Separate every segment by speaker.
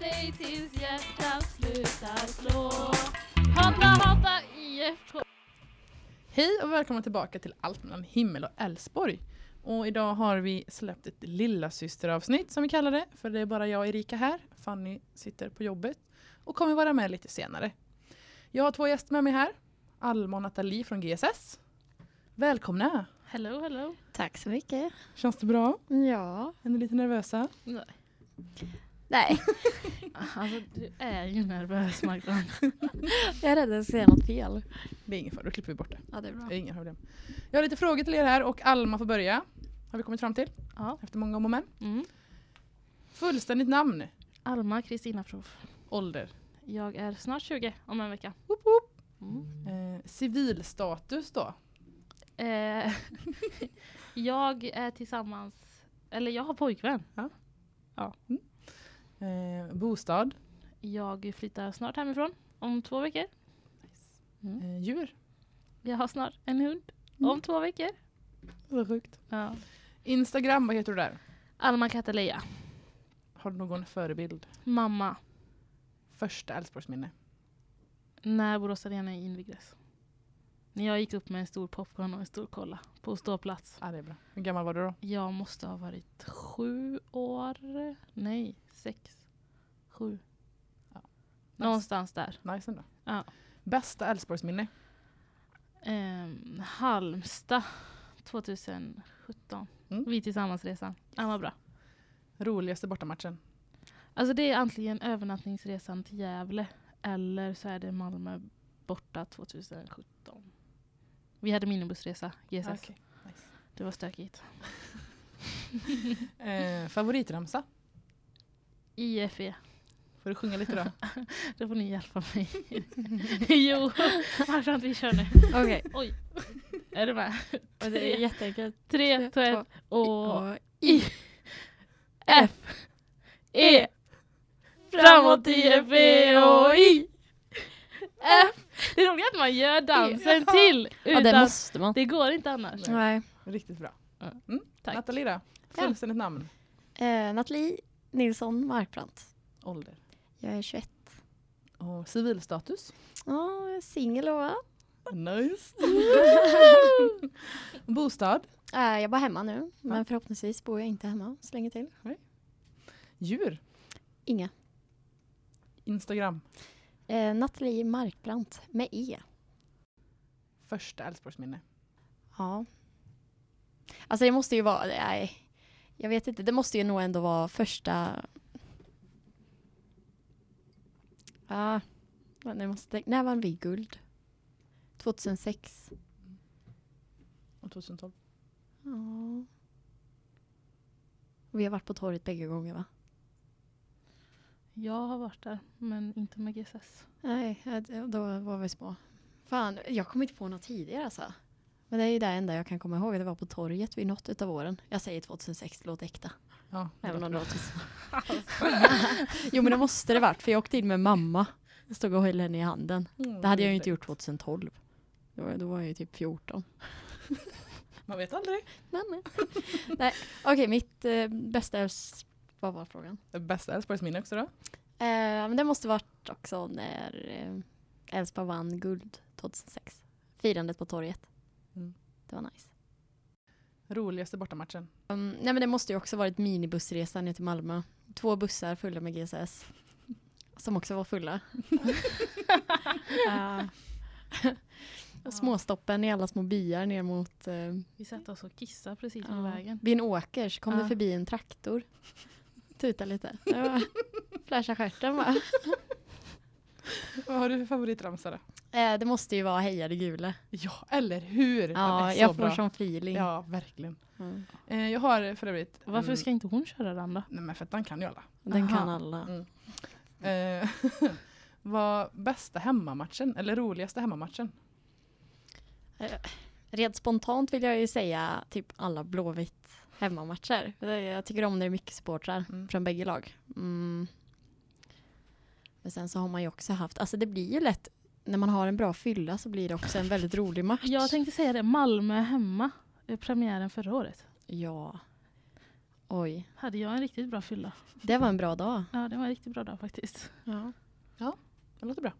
Speaker 1: dig tills hjärtat slutar slå. Hata, hata IFK.
Speaker 2: Hej och välkomna tillbaka till Allt mellan himmel och Älvsborg. Och idag har vi släppt ett lilla systeravsnitt som vi kallar det. För det är bara jag och Erika här. Fanny sitter på jobbet och kommer vara med lite senare. Jag har två gäster med mig här. Alma och Nathalie från GSS. Välkomna!
Speaker 1: Hello, hello.
Speaker 3: Tack så mycket.
Speaker 2: Känns det bra?
Speaker 3: Ja.
Speaker 2: Är ni lite nervösa?
Speaker 1: Nej.
Speaker 3: Nej,
Speaker 1: Alltså du är ju nervös Magdalena.
Speaker 3: jag är rädd att jag ska säga något fel.
Speaker 2: Det är ingen fara, då klipper vi bort det.
Speaker 3: Ja, det är bra.
Speaker 2: det är inga problem. Jag har lite frågor till er här och Alma får börja. Har vi kommit fram till
Speaker 1: Ja.
Speaker 2: efter många om och men.
Speaker 1: Mm.
Speaker 2: Fullständigt namn,
Speaker 1: Alma Kristina Proff.
Speaker 2: ålder,
Speaker 1: Jag är snart 20 om en vecka.
Speaker 2: woop woop.
Speaker 1: Mm.
Speaker 2: Eh, civilstatus då?
Speaker 1: Eh, jag är tillsammans, eller jag har pojkvän.
Speaker 2: Eh, bostad?
Speaker 1: Jag flyttar snart hemifrån om två veckor.
Speaker 2: Eh, djur?
Speaker 1: Jag har snart en hund om
Speaker 2: Mm.
Speaker 1: två veckor.
Speaker 2: Så sjukt.
Speaker 1: Ja.
Speaker 2: Instagram, vad heter du där?
Speaker 1: Alma Kataleja.
Speaker 2: Har du någon förebild?
Speaker 1: Mamma.
Speaker 2: Första Älvsborgsminne?
Speaker 1: När Borås Arena invigdes. När jag gick upp med en stor popcorn och en stor kolla på ståplats.
Speaker 2: Ja, Ah, det är bra. Hur gammal var du då?
Speaker 1: Jag måste ha varit sju år. Nej, sex. Sju.
Speaker 2: Ja.
Speaker 1: Någonstans där.
Speaker 2: Nice ändå.
Speaker 1: Ja.
Speaker 2: Bästa Älvsborgsminne?
Speaker 1: Ehm, Halmstad 2017.
Speaker 2: Mm.
Speaker 1: Vi tillsammansresan. Den var bra.
Speaker 2: Roligaste bortamatchen?
Speaker 1: Alltså det är antingen övernattningsresan till Gävle eller så är det Malmö borta 2017. Vi hade minibussresa, GSS.
Speaker 2: Okej, nice.
Speaker 1: Det var stökigt.
Speaker 2: Eh, favoritramsa?
Speaker 1: IFE,
Speaker 2: Får du sjunga lite då?
Speaker 1: E. då får ni hjälpa mig. jo, här tror jag att vi kör nu.
Speaker 3: Okej,
Speaker 1: Oj, är du med?
Speaker 3: och det är jätteenkelt.
Speaker 1: Tre, två, ett och
Speaker 3: Och
Speaker 1: I F E Framåt I F E och I F Det är roligt att man gör dansen
Speaker 2: Ja.
Speaker 1: till
Speaker 3: ja,
Speaker 1: utan
Speaker 3: det måste man.
Speaker 1: Det går inte annars.
Speaker 2: Nej.
Speaker 3: Nej.
Speaker 2: Riktigt bra.
Speaker 1: Ja.
Speaker 2: Mm.
Speaker 1: Tack.
Speaker 2: Nathalie då? Fullständigt namn?
Speaker 3: Eh, Nathalie Nilsson Markbrant.
Speaker 2: Ålder?
Speaker 3: Jag är 21.
Speaker 2: Och civilstatus?
Speaker 3: Ja, jag är singel och va?
Speaker 2: Nice. Bostad?
Speaker 3: Eh, jag är bara hemma nu,
Speaker 2: Ja.
Speaker 3: men förhoppningsvis bor jag inte hemma så länge till.
Speaker 2: Djur?
Speaker 3: Inga.
Speaker 2: Instagram?
Speaker 3: Eh, Nathalie Markbrant med E.
Speaker 2: Första Älvsborgsminne?
Speaker 3: Ja. Alltså det måste ju vara, nej. Jag vet inte, det måste ju nog ändå vara första... Ja, men jag måste, när vann vi guld? 2006.
Speaker 2: Och 2012?
Speaker 3: Ja. Vi har varit på torget bägge gånger va?
Speaker 1: Jag har varit där men inte med GSS.
Speaker 3: Nej, ja, d- då var vi små. Fan, jag kommer inte på något tidigare alltså. Men det är ju det enda jag kan komma ihåg, det var på torget vid något utav åren. Jag säger 2006, det låter äkta.
Speaker 2: Ja, det
Speaker 3: Även
Speaker 2: låter
Speaker 3: om det
Speaker 2: bra.
Speaker 3: var tusen. jo men det måste det varit för jag åkte in med mamma. Jag stod och höll henne i handen.
Speaker 2: Mm,
Speaker 3: Det hade jag ju
Speaker 2: mysigt.
Speaker 3: inte gjort 2012. Då var, då var jag ju typ 14.
Speaker 2: Man vet aldrig.
Speaker 3: Nej, nej. nej. Okej, mitt eh, bästa... älvs- Vad var frågan?
Speaker 2: Bästa Älvsborgsminne också då?
Speaker 3: Eh, men det måste varit också när eh, Elfsborg vann guld 2006. Firandet på torget.
Speaker 2: Mm.
Speaker 3: Det var nice.
Speaker 2: Roligaste bortamatchen?
Speaker 3: Mm, nej men det måste ju också varit minibussresan ner till Malmö. Två bussar fulla med GSS. Som också var fulla. Ja. Och Småstoppen i alla små byar ner mot eh,
Speaker 1: Vi satte oss och kissade precis vid
Speaker 3: ja,
Speaker 1: vägen.
Speaker 3: vid en åker så kom
Speaker 1: Ja.
Speaker 3: det förbi en traktor. Tuta lite. Det var- Flasha stjärten va?
Speaker 2: Vad har du för favoritramsa då?
Speaker 3: Eh, det måste ju vara Heja det gula.
Speaker 2: Ja, eller hur? Den
Speaker 3: Ja,
Speaker 2: är så
Speaker 3: jag får
Speaker 2: bra.
Speaker 3: sån feeling.
Speaker 2: Ja, verkligen.
Speaker 3: Mm.
Speaker 2: Eh, jag har för övrigt...
Speaker 1: Varför
Speaker 2: en-
Speaker 1: ska inte hon köra den då?
Speaker 2: Nej men för att den kan ju alla. Mm.
Speaker 3: Den
Speaker 1: Aha.
Speaker 3: kan alla.
Speaker 2: Eh, vad bästa hemmamatchen, eller roligaste hemmamatchen?
Speaker 3: Rent spontant vill jag ju säga typ alla Blåvitt hemmamatcher. Det- Jag tycker om när det är mycket supportrar
Speaker 2: Mm.
Speaker 3: från bägge lag. Mm. Men sen så har man ju också haft, alltså det blir ju lätt, när man har en bra fylla så blir det också en väldigt rolig match.
Speaker 1: Jag tänkte säga det, Malmö hemma. eh, Premiären förra året.
Speaker 3: ja. Oj,
Speaker 1: Hade jag en riktigt bra fylla.
Speaker 3: det var en bra dag.
Speaker 1: Ja, det var en riktigt bra dag faktiskt.
Speaker 3: Ja.
Speaker 2: Det låter bra.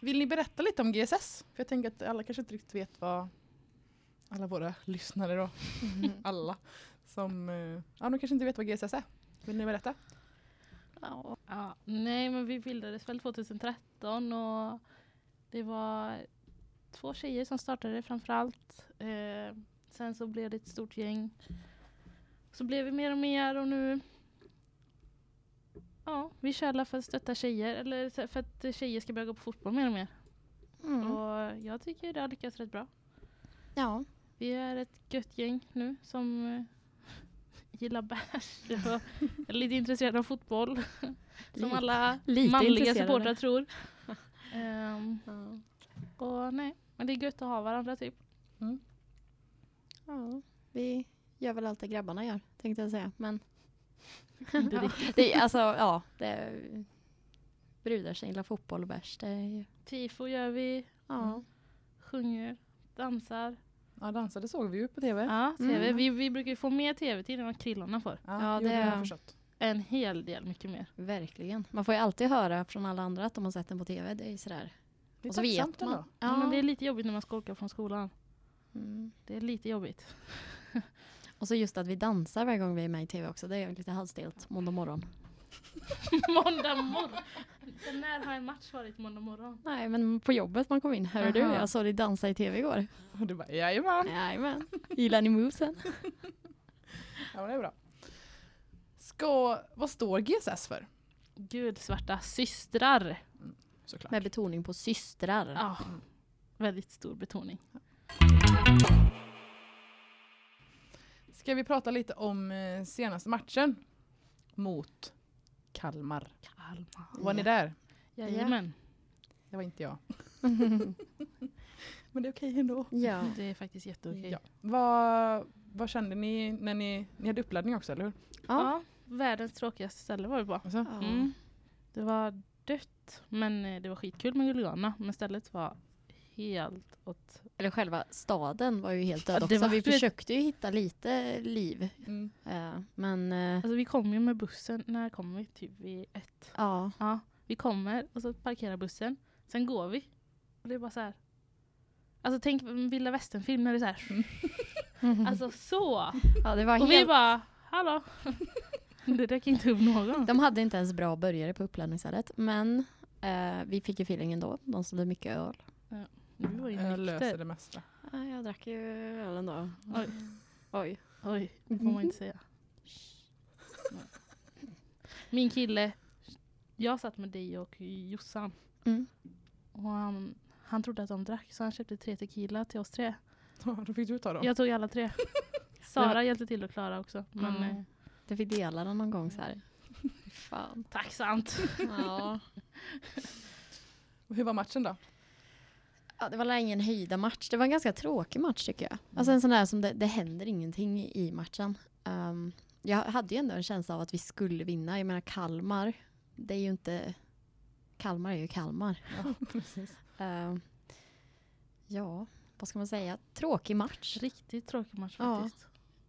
Speaker 2: Vill ni berätta lite om GSS? För jag tänker att alla kanske inte riktigt vet vad alla våra lyssnare då, alla, som eh, ja, de kanske inte vet vad GSS är. Vill ni berätta?
Speaker 1: Ja, nej, men vi bildades väl 2013 och det var två tjejer som startade det framför allt. Eh, sen så blev det ett stort gäng. Så blev vi mer och mer och nu Ja, vi kör alla för att stötta tjejer, eller så- för att tjejer ska börja gå på fotboll mer och mer.
Speaker 3: Mm.
Speaker 1: Och jag tycker det har lyckats rätt bra.
Speaker 3: Ja.
Speaker 1: Vi är ett gött gäng nu som eh, gillar bärs och är lite intresserade av fotboll. som
Speaker 3: Lite-
Speaker 1: alla
Speaker 3: lite
Speaker 1: manliga
Speaker 3: intresserade.
Speaker 1: supportrar tror. Ehm, och nej, men det är gött att ha varandra typ.
Speaker 3: ja. Vi gör väl allt det grabbarna gör, tänkte jag säga. Men
Speaker 1: Inte
Speaker 3: ja. det, är- alltså, ja, det är, brudar som gillar fotboll och bärs. Det är ju, mm,
Speaker 1: Tifo gör vi,
Speaker 3: ja.
Speaker 1: sjunger, dansar.
Speaker 2: Ja, dansa, det såg vi ju på tv.
Speaker 1: Ja,
Speaker 3: Mm.
Speaker 1: TV. Vi, vi brukar ju få mer tv-tid än vad krillarna får.
Speaker 3: Ja,
Speaker 2: jo,
Speaker 3: det-
Speaker 2: har jag förstått.
Speaker 1: En hel del, mycket mer.
Speaker 3: Verkligen. Man får ju alltid höra från alla andra att de har sett den på tv. Det är ju sådär.
Speaker 2: Det är
Speaker 3: Och så vet
Speaker 2: tacksamt
Speaker 3: man.
Speaker 2: ändå.
Speaker 1: Ja. Men det är lite jobbigt när man skolkar från skolan.
Speaker 3: Mm.
Speaker 1: Det är lite jobbigt.
Speaker 3: Och så just att vi dansar varje gång vi är med i tv också. Det är ju lite halvstelt måndag morgon.
Speaker 1: måndag morgon. Så när har en match varit måndag morgon?
Speaker 3: Nej, men på jobbet man kom in. Hörru du,
Speaker 1: Aha.
Speaker 3: jag såg dig dansa i tv igår.
Speaker 2: Och du bara, jajamän.
Speaker 3: Jajamän. Gillar ni movesen?
Speaker 2: Ja, men det är bra. Ska, vad står GSS för?
Speaker 1: Gulsvarta systrar.
Speaker 2: Såklart.
Speaker 3: Med betoning på systrar.
Speaker 1: Ja, väldigt stor betoning.
Speaker 2: Ska vi prata lite om eh, senaste matchen mot Kalmar.
Speaker 1: Kalmar.
Speaker 2: Var ni där?
Speaker 1: Jajamän,
Speaker 2: Det var inte jag. Men det är okej ändå.
Speaker 3: Ja.
Speaker 1: det är faktiskt jätteokej.
Speaker 2: Ja. Vad, vad kände ni när ni, ni hade uppladdning också, eller hur?
Speaker 1: Ja, världens tråkigaste ställe var vi på.
Speaker 2: Alltså,
Speaker 3: Ja.
Speaker 1: Mm. Det var dött, men eh, det var skitkul med Gullivana. Men stället var helt åt...
Speaker 3: Eller själva staden var ju helt
Speaker 1: Ja,
Speaker 3: död
Speaker 1: det
Speaker 3: också.
Speaker 1: var-
Speaker 3: Vi försökte ju hitta lite liv.
Speaker 2: mm.
Speaker 3: eh, Men eh,
Speaker 1: Alltså vi kom ju med bussen, när kom vi? Typ vid ett.
Speaker 3: ja.
Speaker 1: Ja, vi kommer och så parkerar bussen. Sen går vi. Och det är bara så här. Alltså tänk en vilda västern-film när det är så här. Alltså så!
Speaker 3: ja, det var
Speaker 1: Och vi
Speaker 3: helt...
Speaker 1: bara, hallå! Det dök inte upp någon.
Speaker 3: De hade inte ens bra burgare på uppladdningsstället. Men eh, vi fick ju feeling ändå. De sålde mycket öl.
Speaker 1: Vi var ju
Speaker 2: Jag löser
Speaker 1: nykter.
Speaker 2: det mesta.
Speaker 3: Ja, jag drack ju ölen då.
Speaker 1: Oj.
Speaker 3: Oj.
Speaker 1: Oj, det får man inte säga. Min kille, jag satt med dig och Jossan
Speaker 3: Mm.
Speaker 1: och han, han trodde att de drack så han köpte tre tequila till oss tre.
Speaker 2: Ja, Då fick du ta dem.
Speaker 1: Jag tog alla tre.
Speaker 3: Men
Speaker 1: Sara hjälpte till och Klara också. Men
Speaker 3: Mm.
Speaker 1: eh,
Speaker 3: Du fick dela den någon gång så här. Fy Fan.
Speaker 1: tacksamt.
Speaker 3: Ja.
Speaker 2: Och Hur var matchen då?
Speaker 3: ja, det var ingen höjda match. Det var en ganska tråkig match tycker jag.
Speaker 1: Mm.
Speaker 3: Alltså en sån där som det, det händer ingenting i matchen. Ehm, jag hade ju ändå en känsla av att vi skulle vinna. Jag menar Kalmar, det är ju inte... Kalmar är ju Kalmar.
Speaker 2: Ja, precis.
Speaker 3: Ehm, ja, vad ska man säga? Tråkig match.
Speaker 1: Riktigt tråkig match
Speaker 3: Ja.
Speaker 1: faktiskt.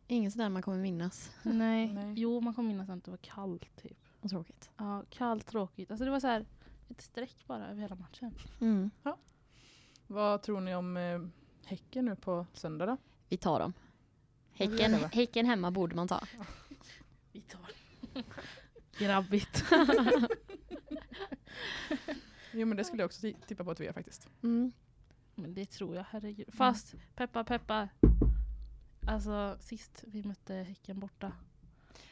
Speaker 3: Ingen sån där man kommer minnas.
Speaker 1: Nej.
Speaker 2: Nej.
Speaker 1: jo man kommer minnas att det var kallt typ.
Speaker 3: Och tråkigt.
Speaker 1: Ja, kallt, tråkigt. Alltså det var så här ett streck bara över hela matchen.
Speaker 3: Mm.
Speaker 2: Vad tror ni om eh, Häcken nu på söndag då?
Speaker 3: Vi tar dem.
Speaker 2: Ja, vi gör
Speaker 3: Häcken,
Speaker 2: det, va?
Speaker 3: häcken hemma borde man ta.
Speaker 1: Vi tar Grabbigt.
Speaker 2: Jo men det skulle jag också ti- tippa på att vi är faktiskt.
Speaker 3: Mm.
Speaker 1: Men det tror jag, herregud. Fast, peppa peppa. Alltså sist vi mötte Häcken borta.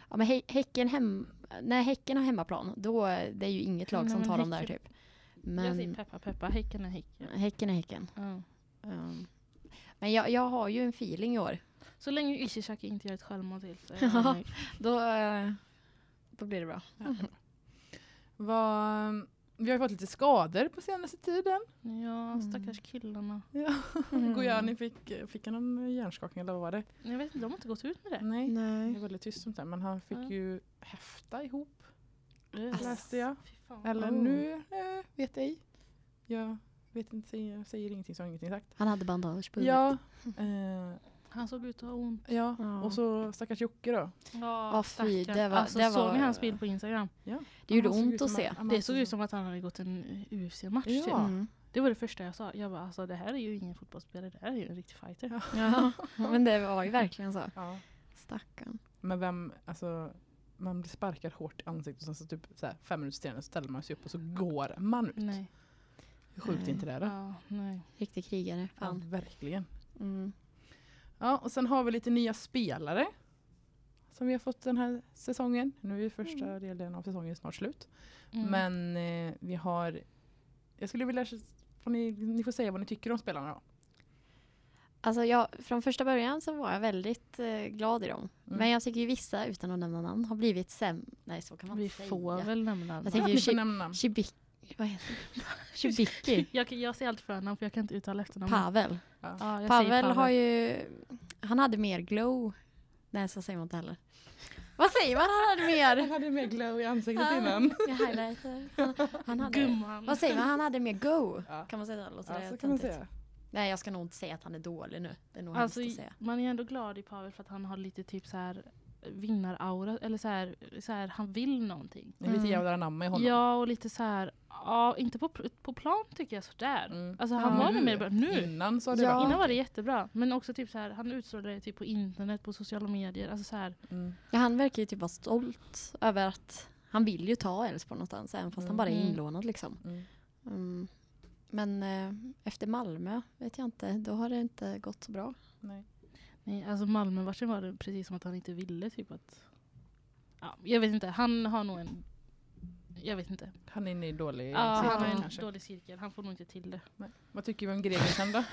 Speaker 3: Ja, men hä häcken hem när Häcken har hemmaplan, då är det är ju inget lag
Speaker 1: Nej,
Speaker 3: som
Speaker 1: men
Speaker 3: tar dem där
Speaker 1: Häcken-
Speaker 3: typ.
Speaker 1: Jag säger
Speaker 3: Men
Speaker 1: peppa peppa, Häcken är Häcken.
Speaker 3: Häcken är Häcken.
Speaker 1: Ja.
Speaker 3: Um, Men jag, jag har ju en feeling i år. Ehm,
Speaker 1: Så länge Ishizaki inte gör ett självmål till så är jag nöjd.
Speaker 3: Då, eh, då blir det bra.
Speaker 2: Vad, eh, vi har ju fått lite skador på senaste tiden.
Speaker 1: Ja, stackars killarna.
Speaker 2: Ja. Gojani fick, eh, fick han någon hjärnskakning eller vad var det?
Speaker 1: Jag vet inte, de har inte gått ut med det.
Speaker 2: Eh, Nej. Det
Speaker 3: Nej.
Speaker 2: är väldigt tyst om det men han fick
Speaker 1: Ja.
Speaker 2: ju häfta ihop
Speaker 1: Öh,
Speaker 2: läste jag.
Speaker 1: Fy fan.
Speaker 2: Eller
Speaker 3: Oh.
Speaker 2: nu eh, vet ej. Jag vet inte, säger, säger ingenting så har jag ingenting sagt.
Speaker 3: Han hade bandage på huvudet.
Speaker 2: Ja, eh,
Speaker 1: Han såg ut att ha ont.
Speaker 2: Ja,
Speaker 3: Ja.
Speaker 2: och så stackars Jocke då.
Speaker 1: Ja,
Speaker 3: Ah, fy,
Speaker 1: stackarn.
Speaker 3: det var-
Speaker 1: alltså,
Speaker 3: det
Speaker 1: Såg
Speaker 3: var-
Speaker 1: ni hans bild på Instagram?
Speaker 3: Det gjorde
Speaker 2: Han såg
Speaker 3: ont
Speaker 2: ut
Speaker 3: att
Speaker 2: som
Speaker 3: se.
Speaker 2: han-
Speaker 1: Det såg ut som att han hade gått en UFC-match.
Speaker 2: Mm. Ja.
Speaker 1: Typ.
Speaker 3: Mm.
Speaker 1: Det var det första jag sa. Jag bara, alltså det här är ju ingen fotbollsspelare, det här är ju en riktig fighter.
Speaker 2: Ja.
Speaker 3: Ja, men det var ju verkligen så.
Speaker 2: Ja.
Speaker 3: Stackarn.
Speaker 2: Men vem, alltså man blir sparkad hårt i ansiktet och sen så typ så här, fem minuter senare ställer man sig upp och så går man ut.
Speaker 1: Nej.
Speaker 2: Hur sjukt är
Speaker 3: Nej.
Speaker 2: inte det då?
Speaker 1: Ja, nej.
Speaker 3: Riktig krigare.
Speaker 2: Ja,
Speaker 3: Fan.
Speaker 2: verkligen.
Speaker 3: Mm.
Speaker 2: Ja, och sen har vi lite nya spelare som vi har fått den här säsongen. Nu är ju första delen av säsongen snart slut.
Speaker 1: Mm.
Speaker 2: Men eh, vi har, jag skulle vilja, får ni, ni får säga vad ni tycker om spelarna då.
Speaker 3: Alltså jag, från första början så var jag väldigt eh, glad i dem.
Speaker 2: Mm.
Speaker 3: Men jag tycker ju vissa, utan att nämna namn, har blivit sämre. Nej, så kan man
Speaker 1: Vi
Speaker 3: inte säga.
Speaker 1: får väl nämna
Speaker 3: Jag
Speaker 2: Ja,
Speaker 3: tänker
Speaker 2: ni får
Speaker 3: Chi-
Speaker 2: nämna.
Speaker 3: Chibiki. Vad heter det? Chibiki.
Speaker 1: jag, kan- jag säger alltid förnamn för jag kan inte uttala efternamn.
Speaker 3: Pavel.
Speaker 1: Ja, jag säger
Speaker 3: Pavel har ju... Han hade mer glow. Nej, så säger man inte heller. Vad säger man? Han hade
Speaker 2: Jag
Speaker 3: mer...
Speaker 2: hade mer glow i ansiktet
Speaker 3: Han-
Speaker 2: innan.
Speaker 3: jag highlightar. Han- Han hade,
Speaker 1: Gumman.
Speaker 3: vad säger man? Han hade mer go.
Speaker 2: Ja.
Speaker 3: Kan man säga det? Låter
Speaker 2: Ja,
Speaker 3: det
Speaker 2: så kan man
Speaker 3: töntigt?
Speaker 2: säga.
Speaker 3: Nej, jag ska nog inte säga att han är dålig nu. Det är nog
Speaker 1: Alltså,
Speaker 3: hemskt att säga.
Speaker 1: man är ändå glad i Pavel för att han har lite typ så här vinnaraura, eller så här, så här han vill någonting.
Speaker 2: Det är lite
Speaker 3: Mm.
Speaker 2: jävla anamma i honom.
Speaker 1: Ja, och lite så här, ja, inte på, pl- på plan tycker jag sådär.
Speaker 2: Mm.
Speaker 1: Alltså han
Speaker 3: Ja. Mm.
Speaker 1: var det mer bara, nu.
Speaker 2: Innan så hade
Speaker 3: Ja.
Speaker 2: det
Speaker 1: Innan var det jättebra, men också typ så här, han utstrålade det typ på internet, på sociala medier. Alltså så här,
Speaker 2: Mm.
Speaker 3: Ja, han verkar ju typ vara stolt över att han vill ju ta Elfsborg någonstans, även fast han bara är
Speaker 1: Mm.
Speaker 3: inlånad liksom.
Speaker 2: Mm.
Speaker 3: Mm. Men eh, efter Malmö vet jag inte, då har det inte gått så bra.
Speaker 2: Nej.
Speaker 1: nej, alltså Malmömatchen var det precis som att han inte ville typ att... Ja, jag vet inte, han har nog en... Jag vet inte.
Speaker 2: Han är inne i dålig
Speaker 1: Ja, han har
Speaker 2: cirkel
Speaker 1: en
Speaker 2: kanske.
Speaker 1: dålig cirkel, han får nog inte till det.
Speaker 2: Nej. Vad tycker vi om Gregersen då?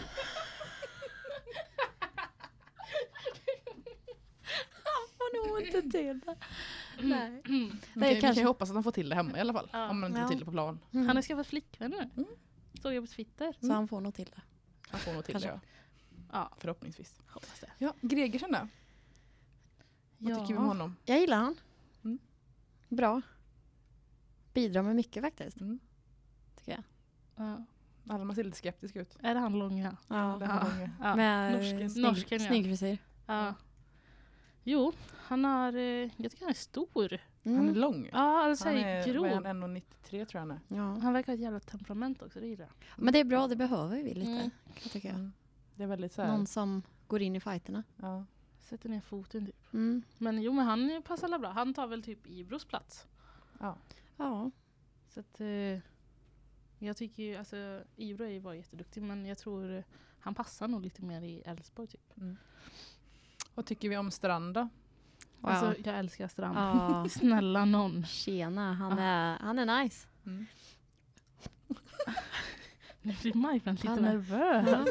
Speaker 3: Får nog inte till det.
Speaker 1: Mm.
Speaker 3: Nej.
Speaker 2: Vi kan, vi kan
Speaker 3: kanske-
Speaker 2: ju hoppas att han får till det hemma i alla fall.
Speaker 1: Ja.
Speaker 2: Om han inte
Speaker 3: Ja.
Speaker 2: får till det på plan.
Speaker 3: Mm.
Speaker 1: Han har skaffat flickvän nu.
Speaker 2: Mm.
Speaker 1: Såg jag på Twitter.
Speaker 3: Så han får nog till det.
Speaker 2: Han får nog till
Speaker 3: Kanske.
Speaker 2: det ja.
Speaker 1: Ja,
Speaker 2: Förhoppningsvis.
Speaker 1: hoppas det.
Speaker 2: Ja, Gregersen då? Vad
Speaker 1: ja.
Speaker 2: tycker vi om honom?
Speaker 3: Jag gillar han.
Speaker 2: Mm.
Speaker 3: Bra. Bidrar med mycket faktiskt,
Speaker 2: Mm.
Speaker 3: tycker jag.
Speaker 1: Ja.
Speaker 2: Alma ser lite skeptisk ut.
Speaker 1: Är det han långa?
Speaker 2: Det här
Speaker 3: Ja.
Speaker 1: Ja.
Speaker 2: gången.
Speaker 1: Ja.
Speaker 3: Med
Speaker 2: norsken.
Speaker 3: snygg,
Speaker 1: Norsken, ja.
Speaker 3: snygg frisyr.
Speaker 1: Ja. Jo, han har... eh, Jag tycker han är stor.
Speaker 2: Han är
Speaker 3: Mm.
Speaker 2: lång.
Speaker 1: Ja, alltså
Speaker 2: Han är,
Speaker 1: grov.
Speaker 2: vad är han, 1,93 tror jag han är.
Speaker 3: Ja.
Speaker 1: Han verkar ha ett jävla temperament också, det gillar jag.
Speaker 3: Men det är bra, det behöver vi lite,
Speaker 1: Mm.
Speaker 3: tycker jag.
Speaker 2: Mm. Det är väldigt så här.
Speaker 3: Någon som går in i fighterna.
Speaker 2: Ja.
Speaker 1: Sätter ner foten typ.
Speaker 3: Mm.
Speaker 1: Men jo, men han passar alla bra. Han tar väl typ Ibros plats.
Speaker 2: Ja.
Speaker 3: Ja.
Speaker 1: Så att... Eh, jag tycker ju, alltså Ibro är ju bara jätteduktig men jag tror eh, han passar nog lite mer i Elfsborg typ.
Speaker 2: Vad tycker vi om Strand då?
Speaker 3: Wow.
Speaker 1: Alltså jag älskar Strand.
Speaker 3: ja.
Speaker 1: Snälla någon.
Speaker 3: Tjena, han
Speaker 1: Ja.
Speaker 3: är, han är nice.
Speaker 2: Mm.
Speaker 1: Nu blir Majbrandt lite
Speaker 3: Han är-
Speaker 1: nervös.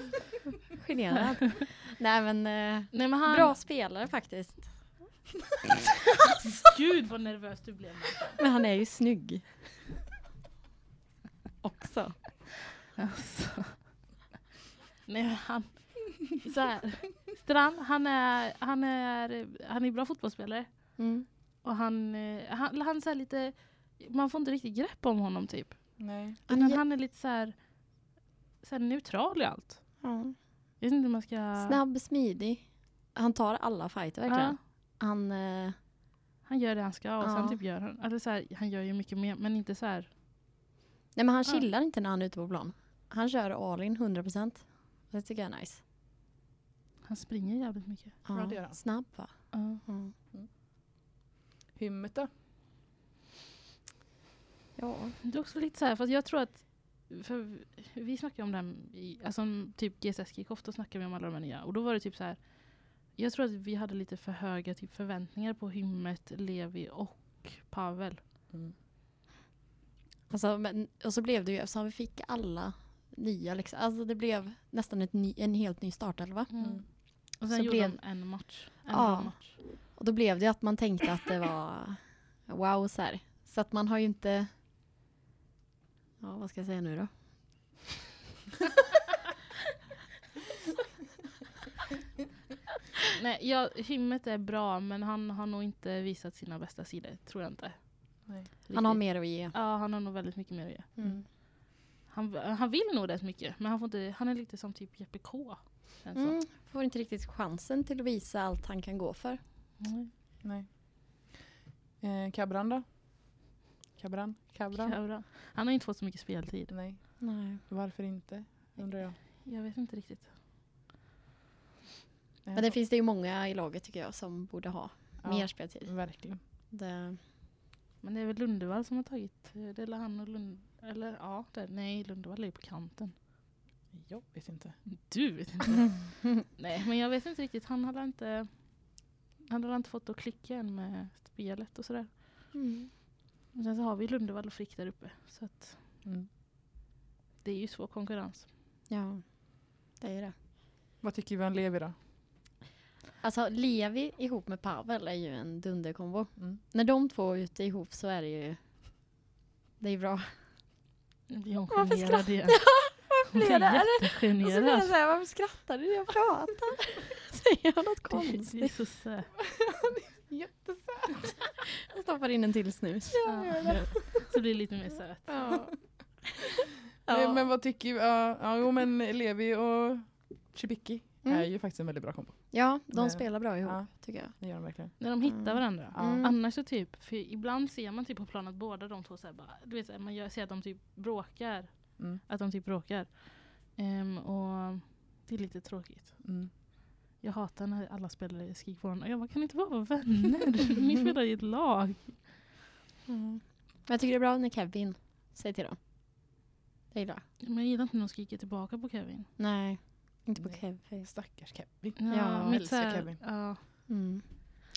Speaker 3: Generad. Nej men, eh,
Speaker 1: Nej, men han,
Speaker 3: bra spelare faktiskt.
Speaker 1: Gud vad nervös du blev.
Speaker 3: Men han är ju snygg. Också.
Speaker 1: Alltså. Nej, men han... Så här. Strand, han är, han, är, han är bra fotbollsspelare.
Speaker 3: Mm.
Speaker 1: Och han, eh, han, han är så här lite... Man får inte riktigt grepp om honom typ.
Speaker 2: Nej.
Speaker 3: Han
Speaker 1: Han,
Speaker 3: är-
Speaker 1: han är lite så här, så här neutral i allt.
Speaker 3: Ja.
Speaker 1: Jag vet inte hur man ska...
Speaker 3: Snabb, smidig. Han tar alla fighter
Speaker 1: Ja,
Speaker 3: verkligen. Han, eh,
Speaker 1: han gör det han ska och
Speaker 3: Ja.
Speaker 1: sen typ gör han... Eller så här, han gör ju mycket mer men inte så här...
Speaker 3: nej men han
Speaker 1: Ja.
Speaker 3: chillar inte när han är ute på plan. Han kör all in 100%. Det tycker jag är nice.
Speaker 1: Han springer jävligt mycket.
Speaker 3: Ja.
Speaker 2: Bra, det gör han.
Speaker 3: Snabb va?
Speaker 1: Ja.
Speaker 3: Ja.
Speaker 2: Hymmet då?
Speaker 3: Ja.
Speaker 1: Det är också lite så här, för att jag tror att för vi snackade om det här, i- alltså typ GSS kickoff, då snackade vi om alla de här nya. Och då var det typ så här, jag tror att vi hade lite för höga typ förväntningar på Hymmet, Levi och Pavel.
Speaker 3: Alltså, men, och så blev det ju, eftersom vi fick alla nya liksom. Alltså det blev nästan ett ny, en helt ny startelva.
Speaker 2: Mm.
Speaker 1: Och sen
Speaker 3: Så
Speaker 1: gjorde
Speaker 3: blev-
Speaker 1: de en match. En
Speaker 3: Ja.
Speaker 1: bra match.
Speaker 3: Och då blev det ju att man tänkte att det var wow så här. Så att man har ju inte... Ja, vad ska jag säga nu då?
Speaker 1: Nej, ja, Hymmet är bra men han har nog inte visat sina bästa sidor, tror jag inte.
Speaker 2: Nej.
Speaker 1: Riktigt.
Speaker 3: Han har mer att ge.
Speaker 1: Ja, han har nog väldigt mycket mer att ge.
Speaker 3: Mm.
Speaker 1: Han, han vill nog rätt mycket men han, får inte, han är lite som typ Jeppe K. känns som.
Speaker 3: Mm, får inte riktigt chansen till att visa allt han kan gå för.
Speaker 1: Nej.
Speaker 2: Nej. Eh, Kabran då? Kabran? Kabran?
Speaker 1: Cabra. Han har inte fått så mycket speltid.
Speaker 2: Nej.
Speaker 3: Nej.
Speaker 2: Varför inte? Undrar jag.
Speaker 1: Jag vet inte riktigt.
Speaker 2: Eh,
Speaker 3: Men det finns det ju många i laget tycker jag som borde ha
Speaker 2: ja,
Speaker 3: mer speltid.
Speaker 2: Verkligen.
Speaker 3: Det,
Speaker 1: Men det är väl Lundevall som har tagit. eh, Det är han och Lund... Eller ja, det, nej Lundevall är ju på kanten.
Speaker 2: Jag vet inte.
Speaker 1: Du vet inte. nej men jag vet inte riktigt. Han hade inte... Han hade inte fått att klicka än med spelet och sådär.
Speaker 3: mm.
Speaker 1: Och sen så har vi Lundevall och Frick där uppe. Så att
Speaker 2: Mm.
Speaker 1: det är ju svår konkurrens.
Speaker 3: Ja, det är det.
Speaker 2: Vad tycker vi om Levi då?
Speaker 3: Alltså Levi ihop med Pavel är ju en dunderkombo.
Speaker 2: Mm.
Speaker 3: När de två är ute ihop så är det ju det är bra.
Speaker 1: Jag
Speaker 3: Varför
Speaker 1: generad igen. Hon
Speaker 3: blev det?
Speaker 1: är
Speaker 3: Är
Speaker 1: jättegenerad.
Speaker 3: säga, varför skrattar du? Jag pratar. Säger jag något
Speaker 1: Det är så sött.
Speaker 3: Jag stoppar in en till snus.
Speaker 1: Ja. Så blir det lite mer söt.
Speaker 3: Ja.
Speaker 2: Nej, men vad tycker vi? Ja, ja, jo men Levi och Chibiki
Speaker 3: Mm.
Speaker 2: är ju faktiskt en väldigt bra kombo.
Speaker 3: ja, de
Speaker 2: Men-
Speaker 3: spelar bra ihop
Speaker 2: Ja.
Speaker 3: tycker jag.
Speaker 2: Det gör de verkligen.
Speaker 1: När de hittar
Speaker 3: Mm.
Speaker 1: varandra.
Speaker 2: Ja.
Speaker 3: Mm.
Speaker 1: Annars så typ, för ibland ser man typ på planen att båda de två så här bara, du vet, så här, man gör, ser att de typ bråkar.
Speaker 2: Mm.
Speaker 1: Att de typ bråkar. Ehm, och det är lite tråkigt.
Speaker 2: Mm.
Speaker 1: Jag hatar när alla spelare skriker på varandra. Jag bara, kan ni inte bara vara vänner? Ni spelar i ett lag.
Speaker 3: Mm. Jag tycker det är bra när Kevin säger till dem. Det är bra.
Speaker 1: Men jag gillar inte när de skriker tillbaka på Kevin.
Speaker 3: Nej, inte på
Speaker 2: Nej.
Speaker 3: Kevin.
Speaker 2: Stackars Kevin.
Speaker 1: Ja,
Speaker 3: jag
Speaker 1: mitt
Speaker 2: älskar
Speaker 1: så här-
Speaker 2: Kevin.
Speaker 1: Ja,
Speaker 3: Mm.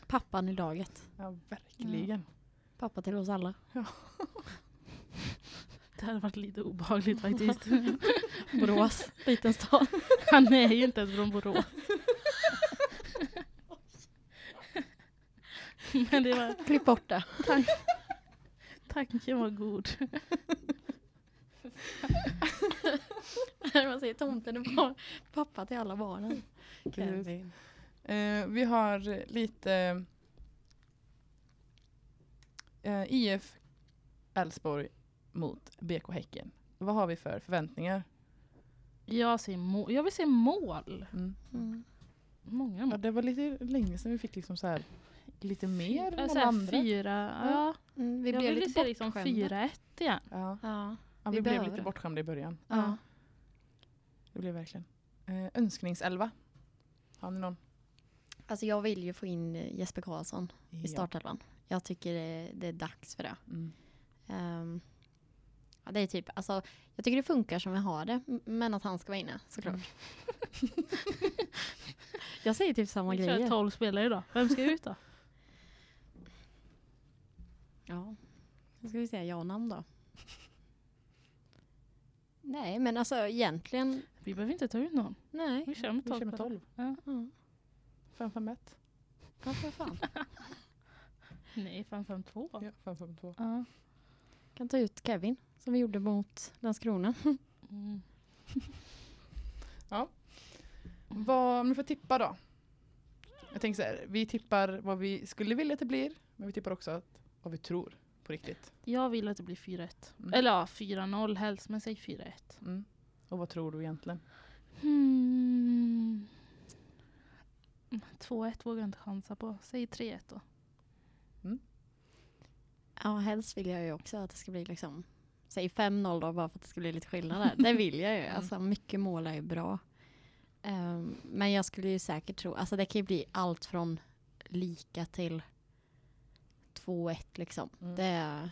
Speaker 3: Pappan i laget.
Speaker 2: Ja, verkligen.
Speaker 3: Pappa till oss alla.
Speaker 1: det hade varit lite obehagligt faktiskt.
Speaker 3: Borås, liten stad.
Speaker 1: Han är ju inte ens från Borås. Men det var,
Speaker 3: Klipp bort det.
Speaker 1: tanken var god.
Speaker 3: Man säger tomten är barn. pappa till alla barnen.
Speaker 2: Precis. Eh, vi har lite eh, IF Elfsborg mot BK Häcken. Vad har vi för förväntningar?
Speaker 1: Jag, säger må- jag vill se mål.
Speaker 2: Mm.
Speaker 3: Mm.
Speaker 1: Många
Speaker 2: Ja,
Speaker 1: mål.
Speaker 2: det var lite länge sedan vi fick liksom så här, lite mer än
Speaker 1: Ja,
Speaker 2: alla
Speaker 1: såhär
Speaker 2: andra.
Speaker 1: fyra, ja.
Speaker 3: Mm, vi
Speaker 1: Jag
Speaker 3: blev
Speaker 1: ville
Speaker 3: lite
Speaker 1: se liksom
Speaker 3: bortskämda.
Speaker 1: 4-1 igen.
Speaker 2: Ja.
Speaker 3: Ja.
Speaker 2: Ja,
Speaker 3: Vi
Speaker 2: vi, blev
Speaker 3: behöver
Speaker 2: lite
Speaker 3: det.
Speaker 2: bortskämda i början.
Speaker 3: Ja.
Speaker 2: Det blev verkligen. Eh, önskningselva. Har ni någon?
Speaker 3: Alltså jag vill ju få in eh, Jesper Karlsson i startelvan. Jag tycker det, det är dags för det.
Speaker 2: Mm.
Speaker 3: Ehm, ja, det är typ, alltså, jag tycker det funkar som vi har det, m- men att han ska vara inne såklart. Mm. jag säger typ samma
Speaker 1: Vi kör
Speaker 3: grejer.
Speaker 1: 12 spelare idag. Vem ska ut då?
Speaker 3: Ja. Nu ska vi säga ja-namn då. Nej, men alltså egentligen,
Speaker 1: Vi behöver inte ta ut någon.
Speaker 3: nej.
Speaker 1: Vi kör med
Speaker 2: Vi
Speaker 1: 12.
Speaker 2: kör med
Speaker 1: spelare.
Speaker 2: 12.
Speaker 3: Mm.
Speaker 2: 5 5 1.
Speaker 3: Ja, för fan.
Speaker 1: Nej, 5-5-2. Ja.
Speaker 2: Ja, 5 5 2.
Speaker 3: kan ta ut Kevin, som vi gjorde mot Landskrona.
Speaker 1: Mm.
Speaker 2: Vad, om ni får tippa då. Jag tänker så här, vi tippar vad vi skulle vilja att det blir, men vi tippar också att, vad vi tror på riktigt.
Speaker 1: Jag vill att det blir 4-1.
Speaker 2: Mm.
Speaker 1: Eller ja, 4-0 helst, men säg 4-1.
Speaker 2: Mm. Och vad tror du egentligen?
Speaker 1: Hmm. 2-1 vågar jag inte chansa på. Säg 3-1 då.
Speaker 3: Ja, helst vill jag ju också att det ska bli liksom, säg 5-0 då bara för att det ska bli lite skillnad där. Det vill jag
Speaker 2: Mm.
Speaker 3: ju. Alltså mycket mål är ju bra. Ehm, men jag skulle ju säkert tro, alltså det kan ju bli allt från lika till 2-1 liksom.
Speaker 2: Mm.
Speaker 3: Det,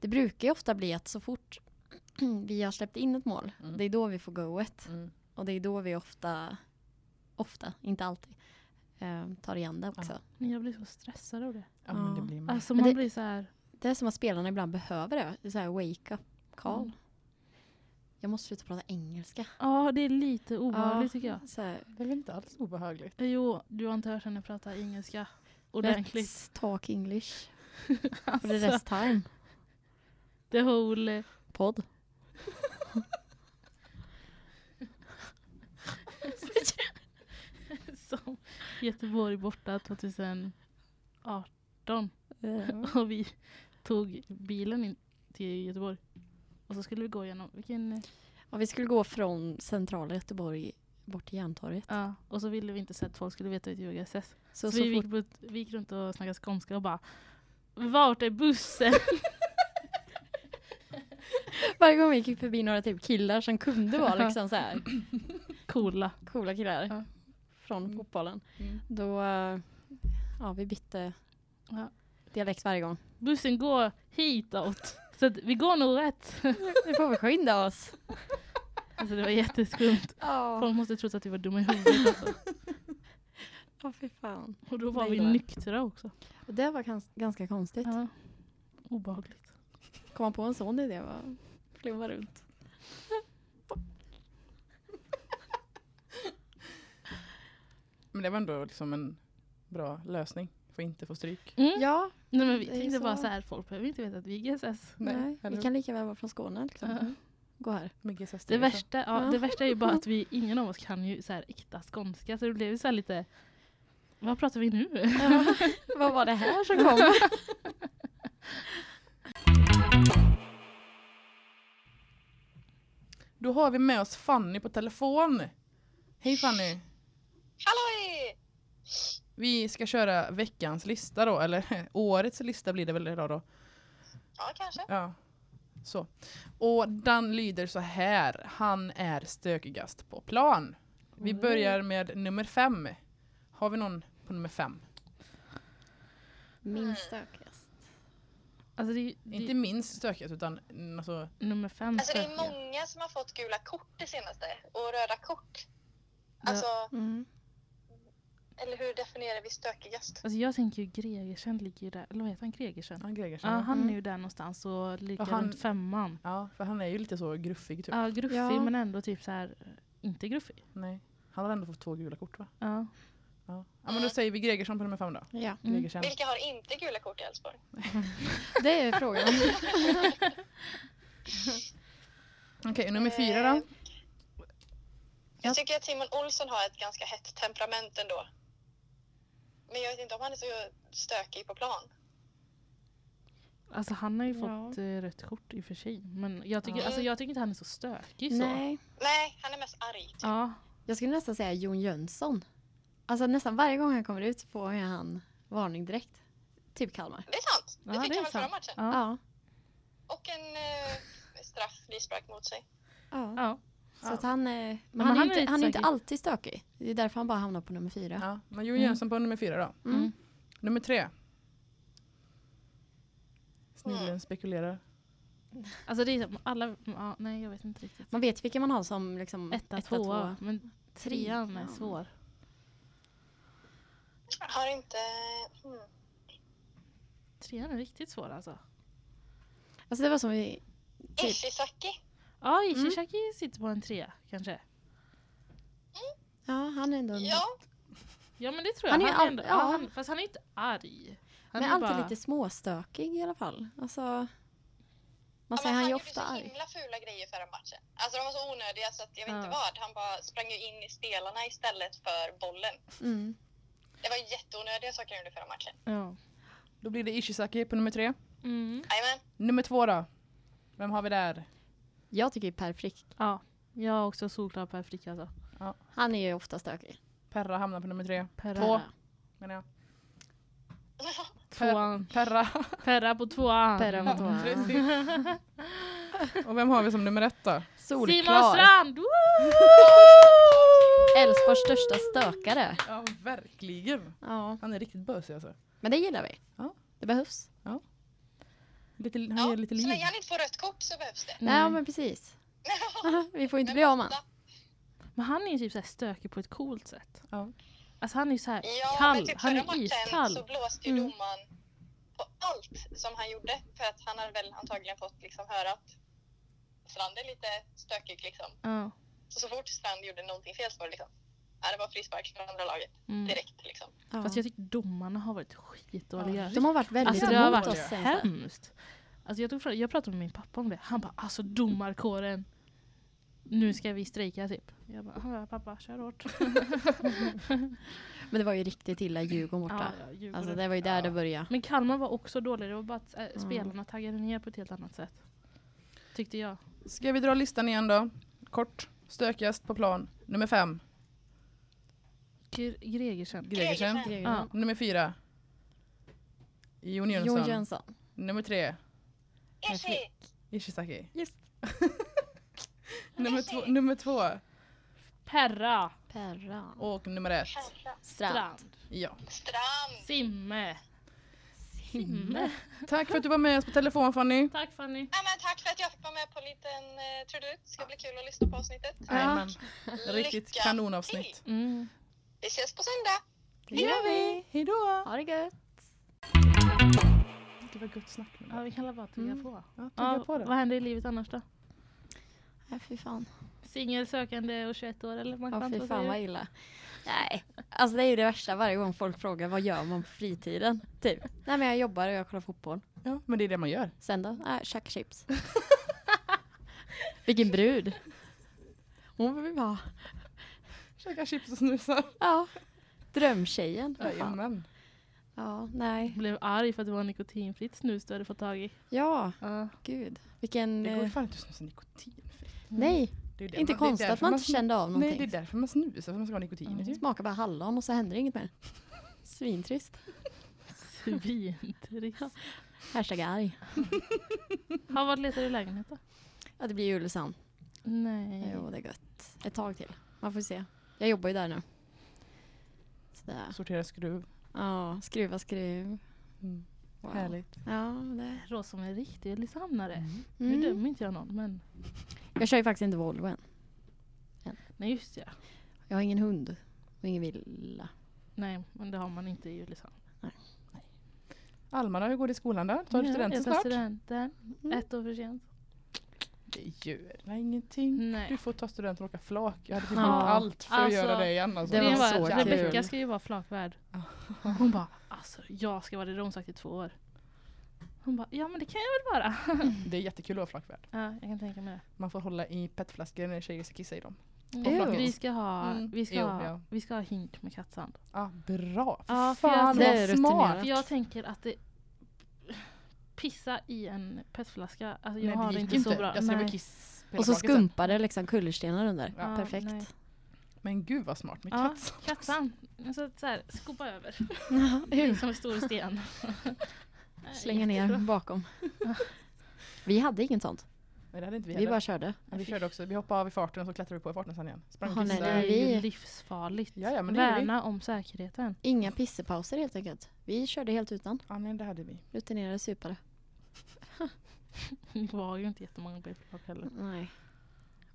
Speaker 3: det brukar ju ofta bli att så fort vi har släppt in ett mål,
Speaker 2: Mm.
Speaker 3: det är då vi får goet.
Speaker 2: Mm.
Speaker 3: Och det är då vi ofta, ofta, inte alltid, ehm, tar igen det också.
Speaker 2: Ja.
Speaker 1: Men jag blir så stressad av det.
Speaker 2: Ja, Mm. men det
Speaker 3: Ja.
Speaker 2: blir man.
Speaker 1: Alltså
Speaker 3: Men
Speaker 1: man
Speaker 3: det-
Speaker 1: blir så här.
Speaker 3: Det är som att spelarna ibland behöver det. det är så här wake up call.
Speaker 1: Mm.
Speaker 3: Jag måste sluta prata engelska.
Speaker 1: Ja, det är lite obehagligt
Speaker 3: Ja.
Speaker 1: tycker jag.
Speaker 3: Så här,
Speaker 2: Det är väl inte alls obehagligt.
Speaker 1: Jo, du har inte hört henne prata engelska ordentligt.
Speaker 3: Let's talk English for the
Speaker 1: Alltså,
Speaker 3: rest time.
Speaker 1: the whole... eh,
Speaker 3: Podd.
Speaker 1: Som Göteborg borta 2018. Och vi tog bilen in till Göteborg. Och Och så skulle vi gå genom, vilken,
Speaker 3: Ja, vi skulle gå från centrala Göteborg bort till Järntorget.
Speaker 1: ja, och så ville vi inte så att folk skulle veta vilket UGSS. Så,
Speaker 3: Så,
Speaker 1: så
Speaker 3: så
Speaker 1: vi,
Speaker 3: fort-
Speaker 1: gick, på ett- vi gick runt och snackade skånska och bara Vart är bussen?
Speaker 3: Varje gång vi gick förbi några typ killar som kunde vara liksom så här
Speaker 1: Coola.
Speaker 3: coola killar
Speaker 1: Ja.
Speaker 3: från
Speaker 2: Mm.
Speaker 3: fotbollen.
Speaker 2: Mm.
Speaker 3: Då, eh, ja vi bytte
Speaker 1: Ja.
Speaker 3: dialekt varje gång.
Speaker 1: Bussen går hitåt. Så att vi går nog rätt.
Speaker 3: Nu får vi skynda oss.
Speaker 1: Alltså det var jätteskumt.
Speaker 3: Ja,
Speaker 1: Folk måste trott att vi var dumma i huvudet alltså.
Speaker 3: oh, fy fan.
Speaker 1: Och då var
Speaker 3: Det
Speaker 1: vi
Speaker 3: gillar jag.
Speaker 1: nyktra också.
Speaker 3: Och det var gans- ganska konstigt.
Speaker 1: Ja. Obehagligt.
Speaker 3: Komma på en sån idé var flumma runt.
Speaker 2: Men det var ändå liksom en bra lösning. Får inte få stryk.
Speaker 1: Mm.
Speaker 3: Ja,
Speaker 1: Nej, men vi
Speaker 3: det är ju
Speaker 1: tänkte
Speaker 3: så.
Speaker 1: bara så här, folk behöver inte veta att vi är GSS.
Speaker 3: nej,
Speaker 2: eller
Speaker 3: vi kan lika väl vara från Skåne liksom.
Speaker 1: Ja.
Speaker 3: Gå här.
Speaker 2: med GSS
Speaker 1: Det värsta, ja,
Speaker 3: Ja.
Speaker 1: det värsta är ju bara att vi, ingen av oss kan ju så här äkta skånska så det blev ju så här lite vad pratar vi nu?
Speaker 3: Ja, vad var det här som kom?
Speaker 2: Då har vi med oss Fanny på telefon. Hej Fanny!
Speaker 4: Halloj!
Speaker 2: Vi ska köra veckans lista då, eller årets lista blir det väl idag då.
Speaker 4: Ja, kanske.
Speaker 2: Ja. Så. Och den lyder så här. Han är stökigast på plan. Vi börjar med nummer fem. Har vi någon på nummer fem?
Speaker 3: Min stökigast.
Speaker 1: Alltså det är ju det,
Speaker 2: Inte
Speaker 1: är
Speaker 2: minst stökigast utan mm, alltså,
Speaker 1: nummer fem.
Speaker 4: Alltså det är
Speaker 1: söker jag.
Speaker 4: många som har fått gula kort det senaste och röda kort. Alltså,
Speaker 3: Mm.
Speaker 4: eller hur definierar vi stökigast?
Speaker 1: Alltså jag tänker ju Gregersen ligger ju där, eller vad heter han Gregersen?
Speaker 2: han Gregersen.
Speaker 1: Ja han
Speaker 3: Mm.
Speaker 1: är ju där någonstans och ligger
Speaker 2: Och han-
Speaker 1: runt femman.
Speaker 2: Ja, för han är ju lite så gruffig typ.
Speaker 1: Ja gruffig
Speaker 3: Ja.
Speaker 1: men ändå typ så här inte gruffig.
Speaker 2: Nej. Han har ändå fått två gula kort va?
Speaker 1: Ja.
Speaker 2: Ja. ja men då säger vi Gregersen på nummer fem då.
Speaker 3: Ja,
Speaker 1: Eh. Mm.
Speaker 2: Gregersen.
Speaker 4: Vilka har inte gula kort i Elfsborg?
Speaker 3: det är frågan.
Speaker 2: Okej, nummer fyra då.
Speaker 4: Eh, Jag tycker att Simon Olsson har ett ganska hett temperament ändå. Men jag vet inte om han är så stökig på plan.
Speaker 1: Alltså han har ju
Speaker 3: Ja.
Speaker 1: fått eh, rött kort i och för sig men jag tycker,
Speaker 4: Ja.
Speaker 1: alltså, jag tycker inte han är så stökig så.
Speaker 3: Nej,
Speaker 4: Nej, han är mest arg. Typ.
Speaker 1: Ja.
Speaker 3: jag skulle nästan säga Jon Jönsson. Alltså nästan varje gång han kommer ut så får han varning direkt. Typ Kalmar.
Speaker 4: Det är sant.
Speaker 1: Ja,
Speaker 4: Det fick
Speaker 1: det är
Speaker 4: han väl förra
Speaker 1: sant.
Speaker 4: matchen.
Speaker 1: Ja.
Speaker 3: Ja.
Speaker 4: Och en eh, straff, frispark mot sig.
Speaker 3: ja.
Speaker 1: ja.
Speaker 3: Så att han, är,
Speaker 1: Men
Speaker 3: men han,
Speaker 1: han är
Speaker 3: är
Speaker 1: lite
Speaker 3: inte, han är inte
Speaker 1: stökig.
Speaker 3: alltid stökig. Det är därför han bara hamnar på nummer fyra.
Speaker 2: Ja, men Jon
Speaker 1: Mm.
Speaker 2: Jönsson på nummer fyra då.
Speaker 3: Mm.
Speaker 2: Nummer tre. Snillen spekulerar.
Speaker 1: Alltså det är som alla, ja, nej jag vet inte riktigt.
Speaker 3: Man vet vilken man har som liksom
Speaker 1: Etta, tvåa. Men trean är
Speaker 3: Trean.
Speaker 1: svår.
Speaker 4: Har inte... Hmm.
Speaker 1: Trean är riktigt svår alltså.
Speaker 3: Alltså det var som vi... Typ.
Speaker 4: Ishizaki.
Speaker 1: Ja, Ishizaki sitter på en trea kanske.
Speaker 3: Ja, han är ändå...
Speaker 4: Ja,
Speaker 1: Ja men det tror jag.
Speaker 3: Han
Speaker 1: Han är
Speaker 3: är all-
Speaker 1: ändå, ja.
Speaker 3: ja.
Speaker 1: han, fast han är inte arg. Han
Speaker 3: men
Speaker 1: är
Speaker 3: alltid
Speaker 1: bara,
Speaker 3: lite småstökig i alla fall. Alltså... Man
Speaker 4: Ja,
Speaker 3: säger
Speaker 4: men
Speaker 3: han är ju
Speaker 4: gjorde
Speaker 3: ofta
Speaker 4: så
Speaker 3: arg.
Speaker 4: himla fula grejer förra matchen. Alltså de var så onödiga så att jag vet
Speaker 1: Ja.
Speaker 4: inte vad. Han bara sprang ju in i spelarna istället för bollen.
Speaker 3: Mm.
Speaker 4: Det var jätteonödiga saker han gjorde förra matchen.
Speaker 1: Ja.
Speaker 2: Då blir det Ishizaki på nummer tre.
Speaker 1: Mm.
Speaker 4: Jajamän.
Speaker 2: Nummer två då. Vem har vi där?
Speaker 3: Jag tycker Per Frick,
Speaker 1: ja. Jag har också solklar Per Frick alltså.
Speaker 3: han är ju ofta stökig.
Speaker 2: Perra hamnar på nummer tre.
Speaker 1: Perra.
Speaker 2: Två menar jag.
Speaker 1: Tvåan.
Speaker 2: Perra.
Speaker 1: Perra på tvåan.
Speaker 3: Perra mot
Speaker 2: Ja,
Speaker 3: honom.
Speaker 2: precis. Och vem har vi som nummer ett då?
Speaker 1: Simon
Speaker 3: Solklar.
Speaker 1: Strand! Woo!
Speaker 3: Elfsborgs största stökare.
Speaker 2: Ja, verkligen.
Speaker 3: Ja.
Speaker 2: Han är riktigt bösig alltså.
Speaker 3: Men det gillar vi.
Speaker 2: Ja.
Speaker 3: Det behövs.
Speaker 2: Lite, han
Speaker 4: Ja,
Speaker 2: ger lite
Speaker 4: så
Speaker 2: liv.
Speaker 4: länge han inte får rött kort så behövs det.
Speaker 3: Nej, men precis. vi får ju inte bli av med han.
Speaker 1: Men han är ju typ så här stökig på ett coolt sätt.
Speaker 2: Ja.
Speaker 1: Alltså han är ju så här
Speaker 4: Ja, men
Speaker 1: kall.
Speaker 4: typ
Speaker 1: han
Speaker 4: förra
Speaker 1: är
Speaker 4: matchen
Speaker 1: iskall.
Speaker 4: så blåste ju
Speaker 3: Mm.
Speaker 4: domaren på allt som han gjorde. För att han hade väl antagligen fått liksom höra att Strand är lite stökig liksom.
Speaker 1: Ja.
Speaker 4: Så, så fort Strand gjorde någonting fel så var det liksom. Ja, det var frispark från andra laget
Speaker 1: Mm.
Speaker 4: direkt liksom.
Speaker 3: Ja.
Speaker 1: Fast jag tycker domarna har varit skitdåliga.
Speaker 3: De har varit väldigt
Speaker 1: Alltså det
Speaker 2: lite
Speaker 1: har
Speaker 3: emot
Speaker 1: varit
Speaker 3: oss. senaste.
Speaker 1: hemskt. Alltså jag, tog fram, jag pratade med min pappa om det. Han bara alltså domarkåren. Nu ska vi strejka typ. Jag bara "Ja, pappa kör hårt.
Speaker 3: Men det var ju riktigt illa i Djurgården borta.
Speaker 1: Ja, ja, Djurgården.
Speaker 3: Alltså det var ju där det började.
Speaker 1: Men Kalmar var också dålig. Det var bara att eh,
Speaker 3: Mm.
Speaker 1: spelarna taggade ner på ett helt annat sätt. tyckte jag.
Speaker 2: Ska vi dra listan igen då? Kort. Stökigast på plan. Nummer fem.
Speaker 1: Gre- Gregersen.
Speaker 2: Gregersen.
Speaker 4: Gregersen.
Speaker 1: Ja.
Speaker 2: Nummer fyra. Jon Jönsson.
Speaker 3: Jon Jönsson.
Speaker 2: Nummer tre.
Speaker 4: Ishi!
Speaker 2: Ishizaki.
Speaker 3: Just.
Speaker 2: nummer, två, nummer två.
Speaker 1: Perra.
Speaker 3: Perra.
Speaker 2: Och nummer ett.
Speaker 3: Strand.
Speaker 1: Strand.
Speaker 2: Ja.
Speaker 4: Strand!
Speaker 1: Simme. Simme.
Speaker 2: Tack för att du var med oss på telefon Fanny.
Speaker 1: Tack Fanny.
Speaker 4: Ja, men tack för att jag fick vara med på en liten eh, trudelutt. Det ska bli kul att lyssna på avsnittet.
Speaker 2: Jajamän. Riktigt
Speaker 4: Lycka
Speaker 2: kanonavsnitt.
Speaker 4: till.
Speaker 1: Mm.
Speaker 4: Vi ses på söndag!
Speaker 3: Det gör vi.
Speaker 2: Hejdå!
Speaker 3: Ha det gött.
Speaker 2: Det var gott snack.
Speaker 1: Ja, vi kan bara tugga
Speaker 3: Mm.
Speaker 1: på.
Speaker 2: Ja, tugga
Speaker 1: Ja,
Speaker 2: på det.
Speaker 1: vad händer i livet annars då?
Speaker 3: Ja, fy fan.
Speaker 1: Singel, sökande och 21 år eller? vad
Speaker 3: Ja,
Speaker 1: fan
Speaker 3: fy
Speaker 1: som
Speaker 3: fan
Speaker 1: säger.
Speaker 3: vad illa. Nej, alltså det är ju det värsta varje gång folk frågar vad gör man på fritiden? Typ. Nej men jag jobbar och jag kollar fotboll.
Speaker 2: Ja, men det är det man gör.
Speaker 3: Sen då? Nej, käkar chips. Vilken brud. Hon vill vi ha.
Speaker 2: Käka chips och snusa.
Speaker 3: Ja. Drömtjejen. för fan.
Speaker 2: Jajamän.
Speaker 3: Ja, nej.
Speaker 1: Blev arg för att det var nikotinfritt snus du hade fått tag i.
Speaker 3: Ja,
Speaker 1: Ja.
Speaker 3: gud. Vilken...
Speaker 2: Det går
Speaker 3: eh,
Speaker 2: ju fan inte att snusa nikotinfritt.
Speaker 3: Nej,
Speaker 2: Det är ju det
Speaker 3: inte
Speaker 2: man- det är
Speaker 3: konstigt att
Speaker 2: därför
Speaker 3: man inte
Speaker 2: snu-
Speaker 3: kände av
Speaker 2: Nej,
Speaker 3: någonting.
Speaker 2: det är därför man snusar, för att man ska ha nikotin typ. i sig.
Speaker 3: Smaka bara hallon och så händer inget mer. Svintrist.
Speaker 1: Svintrist.
Speaker 3: Hashtag arg.
Speaker 1: Ja, vart letar du lägenhet då?
Speaker 3: Ja, det blir ju Ulricehamn.
Speaker 1: Nej.
Speaker 3: Jo, det är gött. Mm. Ett tag till. Man får se. Jag jobbar ju där nu. Sådär.
Speaker 2: Sortera skruv.
Speaker 3: Ja, skruva skruv.
Speaker 2: Mm.
Speaker 3: Wow.
Speaker 2: Härligt.
Speaker 3: Ja, det.
Speaker 1: Rå som en riktig Ulricehamnare. Nu
Speaker 3: Mm.
Speaker 1: dömer inte jag någon men.
Speaker 3: Jag kör ju faktiskt inte Volvo än.
Speaker 1: Nej just ja.
Speaker 3: Jag har ingen hund och ingen villa.
Speaker 1: Nej men det har man inte i Ulricehamn.
Speaker 2: Almarna, hur går det i skolan då? Tar du studenten
Speaker 1: Jag tar
Speaker 2: snart?
Speaker 1: studenten.
Speaker 3: Mm.
Speaker 1: Ett år för sent.
Speaker 2: Det gör väl ingenting. Du
Speaker 1: Nej.
Speaker 2: får ta studenten och åka flak. Jag hade typ
Speaker 3: Ja.
Speaker 2: gjort allt för att
Speaker 1: Alltså,
Speaker 2: göra det igen. Alltså.
Speaker 3: det
Speaker 1: Grejen
Speaker 3: var
Speaker 1: var
Speaker 3: så
Speaker 1: att
Speaker 3: jävla
Speaker 1: Rebecka
Speaker 3: kul. Ah.
Speaker 1: ska ju vara flakvärd. Hon bara alltså jag ska vara religionsvakt i två år. Hon bara ja men det kan jag väl vara.
Speaker 2: Det är jättekul att vara flakvärd.
Speaker 1: Ja jag kan tänka mig det.
Speaker 2: Man får hålla i petflaskor när tjejer ska kissa i dem.
Speaker 3: Ew.
Speaker 1: Mm. Vi ska ha,
Speaker 2: Mm.
Speaker 1: vi ska
Speaker 2: Jo,
Speaker 1: ha,
Speaker 2: ja.
Speaker 1: vi ska ha hink med kattsand.
Speaker 2: Ah, bra!
Speaker 1: Ja, för
Speaker 2: Fan
Speaker 1: jag-
Speaker 3: det är
Speaker 2: vad smart!
Speaker 3: rutinerat.
Speaker 1: För jag tänker att det pissa i en petflaska, alltså jag
Speaker 2: Nej,
Speaker 1: har
Speaker 2: det
Speaker 1: det
Speaker 2: gick
Speaker 1: inte så bra.
Speaker 2: Jag skulle bli
Speaker 1: Nej.
Speaker 2: kiss på
Speaker 3: Och så
Speaker 2: hela baken sen.
Speaker 3: skumpade liksom kullerstenar under.
Speaker 1: Ja,
Speaker 3: Perfekt.
Speaker 1: nej.
Speaker 2: Men gud vad smart med
Speaker 1: Ja.
Speaker 2: kattsand.
Speaker 1: Katsan. Så, Alltså, så här, skopa över. Det är
Speaker 3: Hur?
Speaker 1: Som en stor sten.
Speaker 3: Slänga ner bakom. Vi hade inget sånt.
Speaker 2: Nej, det hade inte vi,
Speaker 3: Vi
Speaker 2: heller.
Speaker 3: bara körde.
Speaker 2: Men vi körde också. Vi hoppade av i farten och så klättrade vi på i farten sen igen. Sprang och
Speaker 3: Jaha,
Speaker 1: Det
Speaker 3: nej,
Speaker 2: kissade.
Speaker 1: är
Speaker 3: nej.
Speaker 1: ju
Speaker 3: vi-
Speaker 1: livsfarligt.
Speaker 2: Ja, ja, men det gjorde vi.
Speaker 1: Värna om säkerheten.
Speaker 3: Inga pissepauser helt enkelt. Vi körde helt utan.
Speaker 2: Ja, nej, det hade vi.
Speaker 3: Rutinerade supare.
Speaker 1: Det var ju inte jättemånga bilder heller.
Speaker 3: Nej.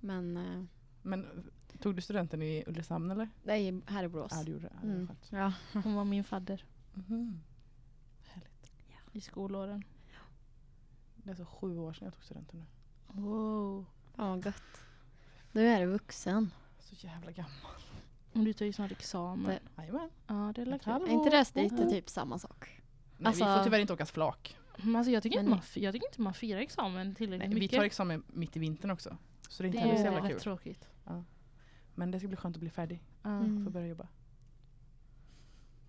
Speaker 3: Men eh,
Speaker 2: Men eh, tog du studenten i Ulricehamn eller?
Speaker 3: det är här i Borås.
Speaker 2: Ja, du gjorde det. Ja, det. var
Speaker 3: Mm.
Speaker 2: skönt.
Speaker 3: Ja.
Speaker 1: Hon var min fadder Mm.
Speaker 2: Mhm. Härligt.
Speaker 1: i skolåren.
Speaker 2: Det är så sju år sedan jag tog studenten nu.
Speaker 1: Wow.
Speaker 3: Fan vad gött. Nu är du vuxen.
Speaker 2: Så jävla gammal.
Speaker 1: Men du tar ju snart examen.
Speaker 3: Det-
Speaker 2: Jajamän.
Speaker 1: Ja, det är
Speaker 2: Ett
Speaker 1: kul.
Speaker 2: halvår.
Speaker 3: Är inte det lite typ samma sak?
Speaker 2: Nej,
Speaker 3: Alltså-
Speaker 2: vi får tyvärr inte åka flak.
Speaker 1: Men alltså, jag, tycker inte
Speaker 3: Men-
Speaker 1: man, jag tycker inte man firar examen tillräckligt
Speaker 2: Nej, vi
Speaker 1: mycket.
Speaker 2: tar examen mitt i vintern också. Så det är
Speaker 1: det
Speaker 2: inte heller så
Speaker 1: är
Speaker 2: jävla
Speaker 1: rätt
Speaker 2: kul.
Speaker 1: tråkigt.
Speaker 2: Men det ska bli skönt att bli färdig.
Speaker 1: Ja.
Speaker 3: Mm.
Speaker 2: Få börja jobba.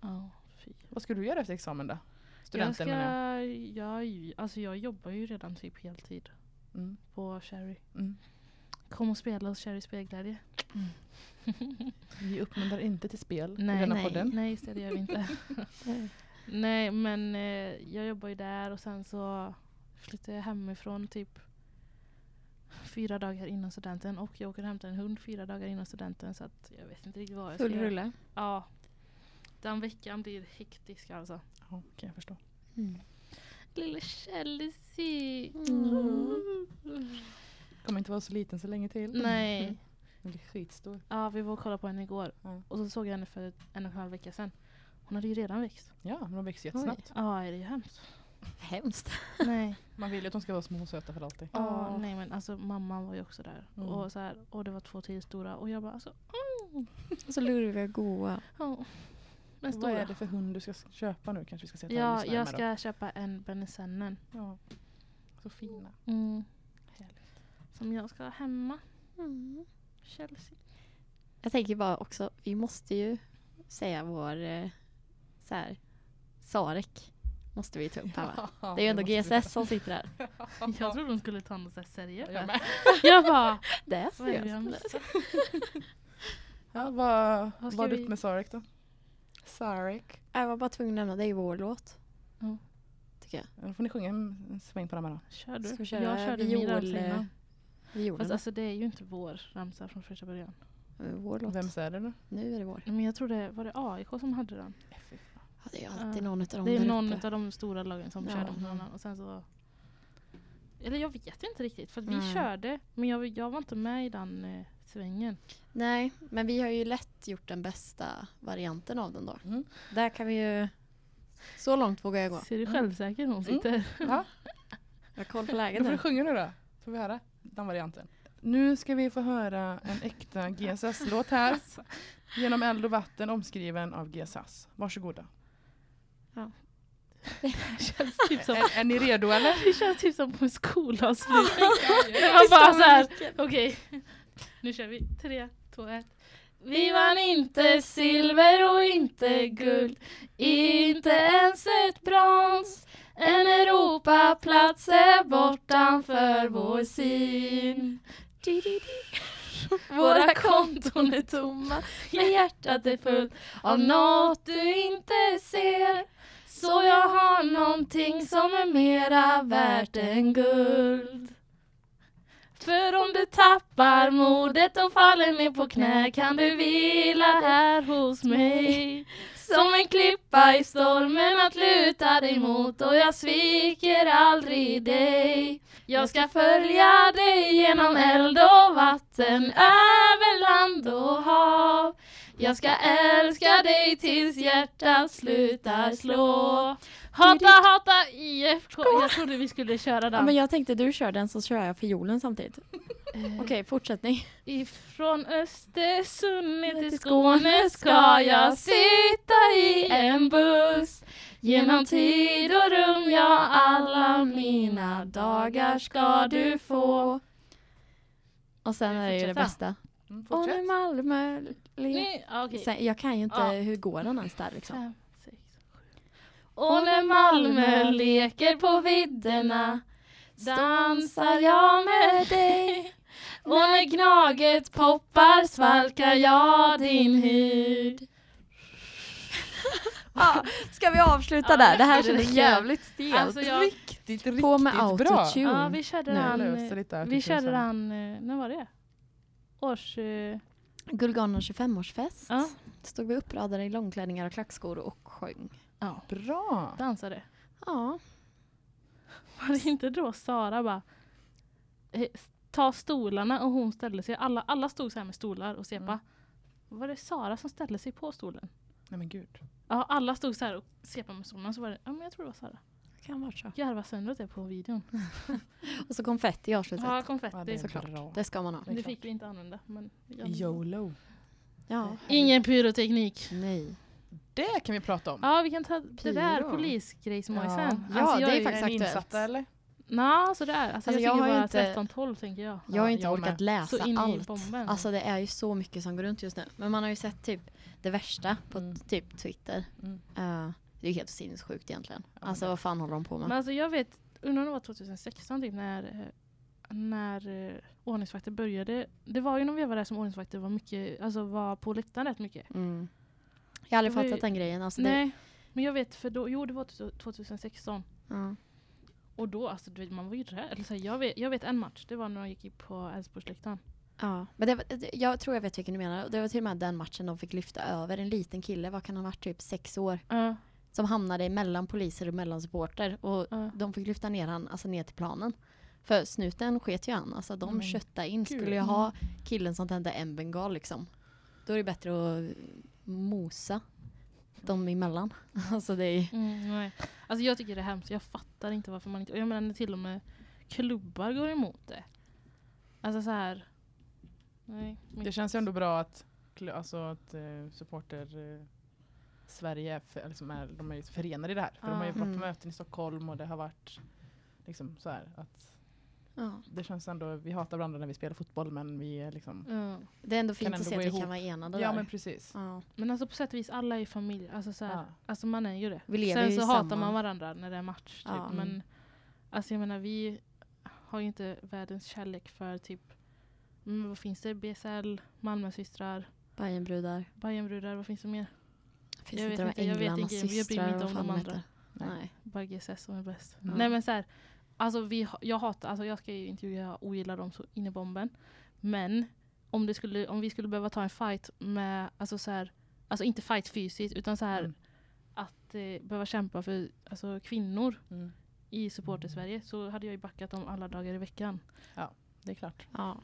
Speaker 1: Ja, fy.
Speaker 2: Vad ska du göra efter examen då?
Speaker 1: Jag,
Speaker 2: Studenten
Speaker 1: ska,
Speaker 2: menar jag.
Speaker 1: jag, alltså jag jobbar ju redan typ heltid
Speaker 2: Mm.
Speaker 1: på Cherry.
Speaker 2: Mm.
Speaker 1: Kom och spela hos Cherry Spelglädje.
Speaker 2: Vi uppmuntrar inte till spel
Speaker 1: Nej,
Speaker 2: i denna
Speaker 3: nej.
Speaker 2: podden.
Speaker 1: Nej, just det, det gör vi inte. Nej, men eh, jag jobbar ju där och sen så flyttar jag hemifrån typ fyra dagar innan studenten och jag åker och hämtar en hund fyra dagar innan studenten så att jag vet inte riktigt vad jag ska
Speaker 3: Full
Speaker 1: göra.
Speaker 3: rulle.
Speaker 1: Ja. Den veckan blir hektisk alltså.
Speaker 2: Ja, kan jag förstå.
Speaker 1: Lille Chelsea!
Speaker 3: Mm.
Speaker 2: Kommer inte vara så liten så länge till.
Speaker 1: Nej.
Speaker 2: Den blir skitstor.
Speaker 1: Ja, vi var och kollade på henne igår.
Speaker 2: Mm. Ja.
Speaker 1: Och så såg jag henne för en och en halv vecka sedan. Hon hade ju redan växt.
Speaker 2: Ja, men de växer jättesnabbt.
Speaker 1: Ja, är det ju hemskt.
Speaker 3: Hemskt.
Speaker 1: Nej.
Speaker 2: Man vill ju att de ska vara små och söta för alltid.
Speaker 1: Ja,
Speaker 3: Ja.
Speaker 1: nej men alltså mamman var ju också där.
Speaker 2: Mm.
Speaker 1: Och, så här, och det var två till stora. Och jag bara alltså, mm,
Speaker 3: Så lurviga och goa.
Speaker 1: ja. Men
Speaker 2: Vad är
Speaker 1: stora.
Speaker 2: det för hund du ska s- köpa nu? Kanske vi ska se till alla
Speaker 1: Ja,
Speaker 2: lyssnare
Speaker 1: jag
Speaker 2: med
Speaker 1: ska köpa en Benesennen.
Speaker 2: då. Ja. Så fina.
Speaker 1: Mm.
Speaker 2: Härligt.
Speaker 1: Som jag ska ha hemma. Chelsea.
Speaker 3: Mm. Jag tänker bara också, vi måste ju säga vår eh, så här, Sarek. måste vi ta upp här va?
Speaker 2: Ja,
Speaker 3: Det är ju ändå
Speaker 2: måste vi
Speaker 3: GSS som sitter här.
Speaker 1: Jag trodde de skulle ta något så här seriöst.
Speaker 2: Jag med.
Speaker 1: Jag bara,
Speaker 3: Det är
Speaker 1: vad är det vi
Speaker 3: seriöst.
Speaker 1: har missat?
Speaker 2: Ja, vad
Speaker 1: Vad ska
Speaker 2: var
Speaker 1: vi-
Speaker 2: du med Sarek då? Sarek.
Speaker 3: Jag var bara tvungen att nämna, det är ju vår låt.
Speaker 1: Ja.
Speaker 3: Tycker jag.
Speaker 2: Då får ni sjunga en en sväng på den här då.
Speaker 1: Kör du?
Speaker 3: Ska vi köra
Speaker 1: jag körde min
Speaker 3: viol,
Speaker 1: ramsa
Speaker 3: eh,
Speaker 1: innan. Fast
Speaker 3: Violen.
Speaker 1: alltså det är ju inte vår ramsa från första början.
Speaker 3: Det är Vår låt.
Speaker 2: Vem säger det då?
Speaker 3: Nu är det vår.
Speaker 1: Men jag tror det var det AIK som hade den.
Speaker 3: Ja, det är ju alltid
Speaker 1: Ja.
Speaker 3: någon utav dem
Speaker 1: det är
Speaker 3: där
Speaker 1: någon
Speaker 3: uppe.
Speaker 1: av de stora lagen som
Speaker 3: Ja.
Speaker 1: kör den. på någon annan. Och sen så... Eller jag vet inte riktigt för att vi
Speaker 3: Nej.
Speaker 1: körde men jag, jag var inte med i den eh, svängen.
Speaker 3: Nej, men vi har ju lätt gjort den bästa varianten av den då.
Speaker 2: Mm.
Speaker 3: Där kan vi ju... Så långt vågar jag gå.
Speaker 1: Ser du självsäker hon
Speaker 2: Mm.
Speaker 1: sitter?
Speaker 2: Ja,
Speaker 3: Jag har koll på
Speaker 2: då
Speaker 3: läget
Speaker 2: får du
Speaker 3: nu.
Speaker 2: sjunga nu då. Får vi höra den varianten. Nu ska vi få höra en äkta GSS-låt här. Genom eld och vatten omskriven av GSS. Varsågoda.
Speaker 1: Det känns typ som,
Speaker 2: Är, är ni redo eller?
Speaker 1: det känns typ som på en skolavslutning. Det var bara så här. Okej, nu kör vi. Tre, två, ett. Vi vann inte silver och inte guld Inte ens ett brons En Europaplats är bortanför vår syn Våra konton är tomma Men hjärtat är fullt av något du inte ser Så jag har någonting som är mera värt än guld för om du tappar modet och faller ner på knä kan du vila här hos mig. Som en klippa i stormen att luta dig mot och jag sviker aldrig dig. Jag ska följa dig genom eld och vatten, över land och hav. Jag ska älska dig tills hjärtat slutar slå. Hata, hata IFK. Jag trodde vi skulle köra
Speaker 3: Ja, men jag tänkte du kör den så kör jag fiolen samtidigt. Okej, fortsättning.
Speaker 1: Ifrån Östersund ner till Skåne ska jag sitta i en buss Genom tid och rum, ja alla mina dagar ska du få
Speaker 3: Och sen är det ju det
Speaker 1: Fortsätta.
Speaker 3: bästa.
Speaker 2: Mm,
Speaker 3: Och nu
Speaker 2: fortsätt.
Speaker 3: Malmö... Le-
Speaker 1: Ni- ja, okej.
Speaker 3: Sen, jag kan ju inte,
Speaker 1: Ja.
Speaker 3: hur går den ens där liksom?
Speaker 1: Fem, sex, sju. Och när Malmö leker på vidderna dansar jag med dig Och när Gnaget poppar svalkar jag din hud
Speaker 3: Ah, ska vi avsluta
Speaker 1: Ja,
Speaker 3: där? Det här
Speaker 1: det
Speaker 3: kändes
Speaker 1: räcker.
Speaker 3: jävligt stelt.
Speaker 1: Alltså jag,
Speaker 2: Riktigt, riktigt
Speaker 3: På med
Speaker 2: bra.
Speaker 3: autotune.
Speaker 1: ja, vi körde
Speaker 3: Nu
Speaker 1: den
Speaker 2: löser lite autotune
Speaker 1: Vi körde
Speaker 2: sen.
Speaker 1: den, eh, när var det? Års... eh,
Speaker 3: Gulganen 25-årsfest.
Speaker 1: Ja,
Speaker 3: Stod vi uppradade i långklänningar och klackskor och sjöng.
Speaker 2: Bra.
Speaker 1: dansade.
Speaker 3: Ja,
Speaker 1: Var det inte då Sara bara eh, ta stolarna och hon ställde sig, alla, alla stod så här med stolar och sepa. Var det Sara som ställde sig på stolen?
Speaker 2: Nej men gud.
Speaker 1: Ja, alla stod så här och sepa med stolarna så var det, ja men jag tror det var Sara.
Speaker 3: det kan vara så.
Speaker 1: Järva sönder åt det på videon.
Speaker 3: Och så konfetti i avslutet.
Speaker 1: Ja,
Speaker 2: Ja,
Speaker 1: konfetti.
Speaker 2: det är
Speaker 3: såklart.
Speaker 2: bra.
Speaker 3: Det ska man ha.
Speaker 2: det är
Speaker 1: det
Speaker 2: klart.
Speaker 1: fick vi inte använda. Men jag-
Speaker 2: YOLO.
Speaker 3: Ja.
Speaker 1: Ingen pyroteknik.
Speaker 3: Nej.
Speaker 2: Det kan vi prata om.
Speaker 1: Ja vi kan ta det där
Speaker 3: Pyro.
Speaker 1: polisgrejsmojsen.
Speaker 3: Ja, det är
Speaker 1: ju-
Speaker 2: Alltså,
Speaker 3: faktiskt
Speaker 2: Är ni
Speaker 3: aktuellt.
Speaker 2: insatta eller?
Speaker 1: Nå, sådär. Alltså,
Speaker 3: Alltså,
Speaker 1: jag,
Speaker 3: jag har ju inte-
Speaker 1: tycker bara 13-12 tänker jag.
Speaker 3: Jag har
Speaker 2: Ja,
Speaker 3: inte
Speaker 2: jag
Speaker 3: orkat
Speaker 2: med.
Speaker 1: Så
Speaker 3: läsa
Speaker 1: in i
Speaker 3: allt.
Speaker 1: bomben.
Speaker 3: Alltså det är ju så mycket som går runt just nu. Men man har ju sett typ det värsta på
Speaker 2: Mm.
Speaker 3: typ Twitter.
Speaker 2: Mm.
Speaker 3: Eh, det är ju helt sinnessjukt egentligen.
Speaker 2: men
Speaker 3: alltså
Speaker 2: det-
Speaker 3: vad fan håller de på med?
Speaker 1: Men alltså jag vet, undrar om det var 2016 typ när, eh, när eh, ordningsvakter började. Det var ju någon veva där som ordningsvakter var mycket, alltså var på läktaren rätt mycket.
Speaker 3: Mm. Jag har aldrig
Speaker 1: Det var ju-
Speaker 3: fattat den grejen. Alltså, det,
Speaker 1: Nej, men jag vet för då, jo det var 2016.
Speaker 3: ja.
Speaker 1: Och då, alltså du vet, man var ju rädd. Eller så här, jag, vet, jag vet en match, det var när de gick in på Älvsborgsläktaren.
Speaker 3: Ja. Men det, var- det- jag tror jag vet vilken du menar. Det var till och med den matchen de fick lyfta över. En liten kille, vad kan han ha varit, typ sex år.
Speaker 1: Ja,
Speaker 3: Som hamnade mellan poliser och mellan supporter. Och
Speaker 1: ja.
Speaker 3: de fick lyfta ner han, alltså ner till planen. För snuten sket ju han. Alltså de
Speaker 2: Men
Speaker 3: köttade in.
Speaker 2: gud.
Speaker 3: Skulle jag ha
Speaker 2: Mm.
Speaker 3: killen som tände en bengal liksom. Då är det bättre att mosa dem emellan. Alltså det är
Speaker 1: Mm, nej. Alltså jag tycker det är hemskt. Jag fattar inte varför man inte... Och jag menar när till och med klubbar går emot det. Alltså så här... Nej. men-
Speaker 2: Det känns ju ändå bra att, kl- alltså, att eh, supporter eh, Sverige är, för, liksom är, de är ju förenade i det här. För de har ju
Speaker 1: Ah.
Speaker 2: varit på
Speaker 3: Mm.
Speaker 2: möten i Stockholm och det har varit liksom så här att
Speaker 3: Ja.
Speaker 2: Det känns ändå, vi hatar varandra när vi spelar fotboll men vi är liksom...
Speaker 1: Ja.
Speaker 3: Det är ändå fint
Speaker 2: Kan ändå
Speaker 3: att se
Speaker 2: gå
Speaker 3: att vi
Speaker 2: ihop.
Speaker 3: kan vara enade
Speaker 2: Ja
Speaker 3: där.
Speaker 2: men precis.
Speaker 3: ja.
Speaker 1: Men alltså på sätt och vis, alla är ju familj. Alltså, så här,
Speaker 2: Ja.
Speaker 1: alltså man är ju det.
Speaker 3: Vi lever
Speaker 1: Sen
Speaker 3: ju
Speaker 1: så
Speaker 3: i
Speaker 1: hatar
Speaker 3: samma-
Speaker 1: man varandra när det är match. Typ.
Speaker 3: Ja.
Speaker 1: Men alltså jag menar vi har ju inte världens kärlek för typ mm, vad finns det? BSL, Malmösystrar,
Speaker 3: Bajenbrudar.
Speaker 1: Bajenbrudar, vad finns det mer?
Speaker 3: Finns
Speaker 1: Jag
Speaker 3: inte
Speaker 1: vet
Speaker 3: de här
Speaker 1: inte, jag vet
Speaker 3: änglarnas
Speaker 1: inte, jag bryr mig
Speaker 3: systrar?
Speaker 1: inte
Speaker 3: vad
Speaker 1: om
Speaker 3: fan
Speaker 1: de
Speaker 3: de
Speaker 1: andra.
Speaker 3: heter? Nej.
Speaker 1: Bara GSS som är bäst.
Speaker 3: Ja.
Speaker 1: Nej men så här, alltså vi, ha- jag hatar, alltså jag ska ju inte ljuga, jag ogillar dem så in i bomben. Men om, det skulle, om vi skulle behöva ta en fight med, alltså så här, alltså inte fight fysiskt utan så här
Speaker 2: Mm.
Speaker 1: att eh, behöva kämpa för alltså, kvinnor
Speaker 2: Mm.
Speaker 1: i supportersverige så hade jag ju backat dem alla dagar i veckan.
Speaker 2: Det är klart.
Speaker 3: Ja.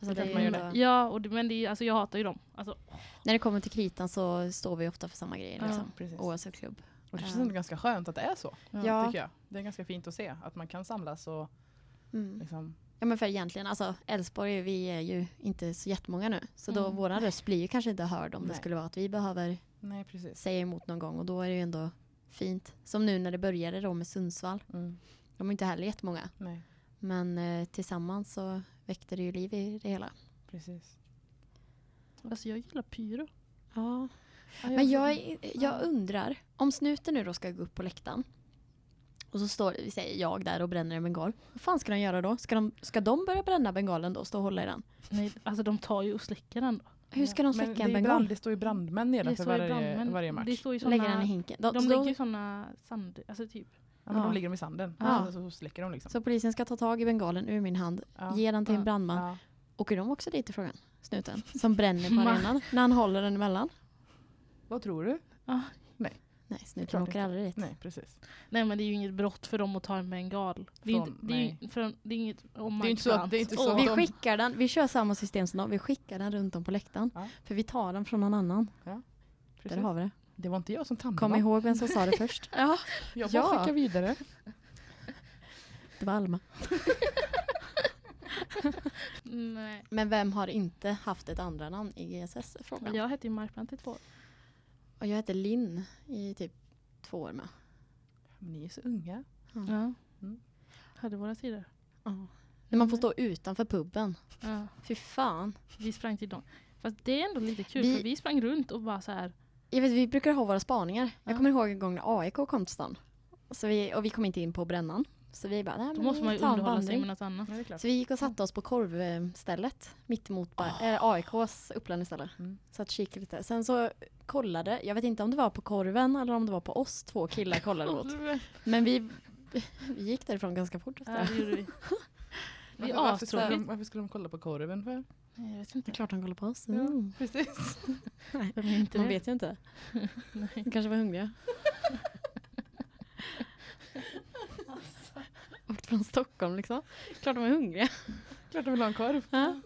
Speaker 3: Alltså,
Speaker 2: är
Speaker 3: det
Speaker 2: klart
Speaker 3: är
Speaker 2: man
Speaker 3: ju
Speaker 2: gör det.
Speaker 3: ändå...
Speaker 1: Ja, och det, men det, är- alltså, jag hatar ju dem. Alltså,
Speaker 3: När det kommer till kritan så står vi ofta för samma grejer.
Speaker 1: Ja.
Speaker 3: Liksom.
Speaker 2: Precis.
Speaker 3: Oavsett klubb.
Speaker 2: Och det känns
Speaker 3: Ja.
Speaker 2: ändå ganska skönt att det är så.
Speaker 1: Ja.
Speaker 3: Ja.
Speaker 2: Tycker jag. Det är ganska fint att se att man kan samlas och
Speaker 3: Mm.
Speaker 2: liksom...
Speaker 3: ja men för egentligen, alltså Elfsborg vi är ju inte så jättemånga nu. Så då
Speaker 1: Mm.
Speaker 3: våran röst blir ju kanske inte hörd om det
Speaker 2: Nej.
Speaker 3: skulle vara att vi behöver
Speaker 2: Nej precis.
Speaker 3: säga emot någon gång. Och då är det ju ändå fint. Som nu när det började då med Sundsvall.
Speaker 2: Mm.
Speaker 3: De är inte heller jättemånga.
Speaker 2: Nej
Speaker 3: Men eh, tillsammans så väckte det ju liv i det hela.
Speaker 2: precis.
Speaker 1: alltså jag gillar pyro.
Speaker 3: Ja. Men jag, är- jag undrar, om snuten nu då ska gå upp på läktaren och så står vi säger jag där och bränner en bengal. Vad fan ska de göra då? Ska de, ska de börja bränna bengalen då och stå och hålla i den?
Speaker 1: Nej, alltså de tar ju och släcker den. då.
Speaker 3: Hur ska de
Speaker 2: Men
Speaker 3: släcka
Speaker 2: det
Speaker 3: en
Speaker 2: är
Speaker 3: bengal?
Speaker 2: brand- Det står ju brandmän nedanför
Speaker 1: står ju
Speaker 2: varje,
Speaker 1: brandmän-
Speaker 2: varje match.
Speaker 1: Det står ju såna,
Speaker 3: Lägger den i hinken? De,
Speaker 1: de
Speaker 3: så,
Speaker 1: lägger ju sådana sand... Alltså typ.
Speaker 2: Ja, men
Speaker 3: Ja.
Speaker 2: De ligger dem i sanden
Speaker 3: Ja.
Speaker 2: och så, så släcker de liksom.
Speaker 3: så polisen ska ta tag i bengalen ur min hand,
Speaker 2: Ja.
Speaker 3: ge den till en
Speaker 1: Ja.
Speaker 3: brandman.
Speaker 2: Ja.
Speaker 3: Åker de också dit i frågan? Snuten som bränner på
Speaker 1: Ma-
Speaker 3: arenan när han håller den emellan?
Speaker 2: Vad tror du?
Speaker 3: Nej, snuten
Speaker 2: Klart
Speaker 3: åker
Speaker 2: inte.
Speaker 3: aldrig dit.
Speaker 2: Nej precis.
Speaker 1: Nej men det är ju inget brott för dem att ta en bengal. Det är ju
Speaker 2: Från-
Speaker 1: inte, det är ju, från, det är inget... Oh my
Speaker 2: Det är inte så att-
Speaker 1: God.
Speaker 2: det är inte
Speaker 1: Åh,
Speaker 2: så-
Speaker 3: Vi
Speaker 2: de-
Speaker 3: skickar den, vi kör samma system som dem, vi skickar den runt om på läktaren.
Speaker 2: Ja.
Speaker 3: För vi tar den från någon annan.
Speaker 2: precis.
Speaker 3: Där har vi det.
Speaker 2: Det var inte jag som
Speaker 3: Kom
Speaker 2: tandade.
Speaker 3: ihåg vem som sa det först.
Speaker 2: Jag bara
Speaker 3: Ja.
Speaker 2: skickar vidare.
Speaker 3: Det var Alma.
Speaker 1: Nej.
Speaker 3: Men vem har inte haft ett andra namn i GSS? är Frågan.
Speaker 1: Jag hette ju Markbrant i två år.
Speaker 3: Och jag heter Linn i typ två år med.
Speaker 2: Men ni är så unga.
Speaker 1: Ja.
Speaker 2: Mm.
Speaker 1: Hade våra tider.
Speaker 3: När man får stå utanför puben.
Speaker 1: Ja.
Speaker 3: Fy fan.
Speaker 1: Vi sprang till dem. Fast det är ändå lite kul
Speaker 3: Vi-
Speaker 1: för vi sprang runt och bara så här.
Speaker 3: Jag vet, vi brukar ha våra spaningar. Jag
Speaker 1: Ja.
Speaker 3: kommer ihåg en gång när AIK kom till stan. Så vi, och vi kom inte in på brännan. Så vi bara, nej,
Speaker 1: Då
Speaker 3: men
Speaker 1: måste
Speaker 3: vi
Speaker 1: man ju
Speaker 3: tar en
Speaker 1: underhålla sig
Speaker 3: vandring.
Speaker 1: med något annat.
Speaker 2: Ja, det är klart.
Speaker 3: Så vi gick och satte oss på korvstället mitt emot ba- eh, AIKs upplandningsställe.
Speaker 2: Mm.
Speaker 3: Så att kika lite. Sen så kollade, jag vet inte om det var på korven eller om det var på oss två killar kollade åt. Men vi, vi gick därifrån ganska fort. efter
Speaker 1: Ja,
Speaker 3: det.
Speaker 1: det gjorde vi. Vi
Speaker 2: Varför,
Speaker 1: är
Speaker 2: varför, skulle de,
Speaker 1: astråkiga.
Speaker 2: varför skulle de kolla på korven för?
Speaker 1: Nej, Jag vet
Speaker 3: Det
Speaker 1: inte.
Speaker 3: är klart han kollar på oss.
Speaker 2: Ja,
Speaker 3: Mm.
Speaker 2: precis.
Speaker 1: Vem är inte
Speaker 3: Man
Speaker 1: det?
Speaker 3: vet ju inte. De kanske var hungriga. Åkt från Stockholm liksom. Klart de är hungriga.
Speaker 2: Klart de vill ha en korv.
Speaker 3: Ja,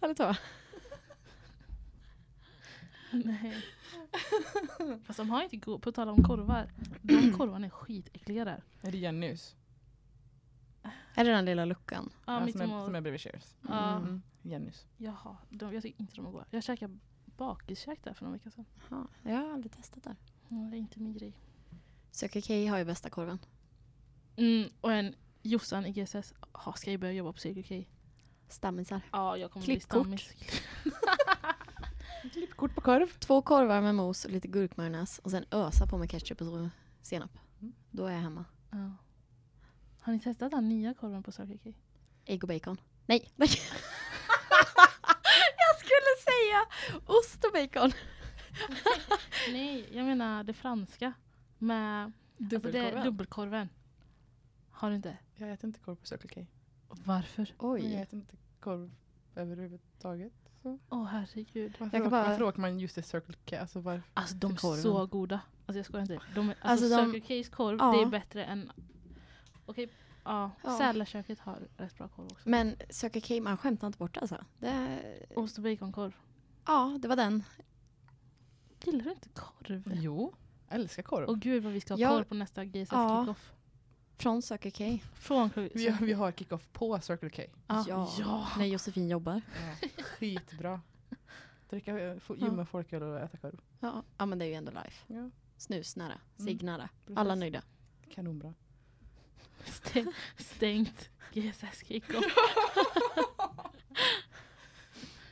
Speaker 3: Eller så.
Speaker 1: Nej. Fast de har inte god, på tal om korvar. De korvarna är skitäckliga där.
Speaker 2: Är det Jennys?
Speaker 3: Är det den lilla luckan?
Speaker 1: Ja, mitt
Speaker 2: som, är, som
Speaker 1: emot.
Speaker 2: är bredvid Cheers.
Speaker 1: Ja.
Speaker 3: Mm.
Speaker 2: Mm. Jennys.
Speaker 1: Jaha, de, jag tycker inte de är goda. Jag käkade bakiskäk där för några veckor sedan.
Speaker 3: Jaha, jag har aldrig testat där.
Speaker 1: Mm, det är inte min grej.
Speaker 3: Söker K har ju bästa korven.
Speaker 1: Mm, och en Jossan i GSS. Ah, ska jag börja jobba på Circle K?
Speaker 3: Stammisar.
Speaker 1: Ja, jag kommer
Speaker 3: Klippkort.
Speaker 1: bli stammis.
Speaker 2: Klippkort på korv.
Speaker 3: Två korvar med mos och lite gurkmajonnäs och sen ösa på med ketchup och så senap.
Speaker 2: Mm.
Speaker 3: Då är jag hemma.
Speaker 1: Ja. Har ni testat den nya korven på Circle K?
Speaker 3: Ägg och bacon. Nej! jag skulle säga ost och bacon.
Speaker 1: Nej, jag menar det franska. Med alltså det, är dubbelkorven. Har du inte?
Speaker 2: Jag äter inte korv på Circle K.
Speaker 1: Varför?
Speaker 2: Men Jag
Speaker 3: Oj.
Speaker 2: äter inte korv överhuvudtaget.
Speaker 1: Åh herregud.
Speaker 2: Varför,
Speaker 3: kan
Speaker 2: åker,
Speaker 3: bara-
Speaker 2: varför åker man just till Circle K? Alltså varför?
Speaker 1: Alltså de är
Speaker 3: Korven.
Speaker 1: så goda. Alltså jag skojar inte. De är, alltså
Speaker 3: Alltså, de-
Speaker 1: Circle K's korv,
Speaker 3: Ja.
Speaker 1: det är bättre än... Okej, ja.
Speaker 3: Ja.
Speaker 1: Sälaköket har rätt bra korv också.
Speaker 3: Men Söker K, man skämtar inte bort alltså. Det,
Speaker 1: Ost och baconkorv.
Speaker 3: ja, det var den.
Speaker 1: Gillar du inte korv?
Speaker 2: Jo. Jag älskar korv.
Speaker 1: Och gud vad vi ska ha
Speaker 3: Jag-
Speaker 1: korv på nästa GSS
Speaker 3: Ja.
Speaker 1: kickoff.
Speaker 3: Från Söker K.
Speaker 1: Från Circle
Speaker 2: Vi, vi har kick-off på Circle K.
Speaker 1: Ja.
Speaker 3: Ja.
Speaker 1: ja.
Speaker 3: När Josefin jobbar.
Speaker 2: Ja. Skitbra. Dricka, eh, fo- gymma folköl och äta korv.
Speaker 3: Ja. ja, men det är ju ändå life.
Speaker 2: Ja,
Speaker 3: Snusnära,
Speaker 2: Mm.
Speaker 3: cignära.
Speaker 2: precis.
Speaker 3: Alla nöjda.
Speaker 2: Kanonbra.
Speaker 1: Stä- Stängt GSS-kick och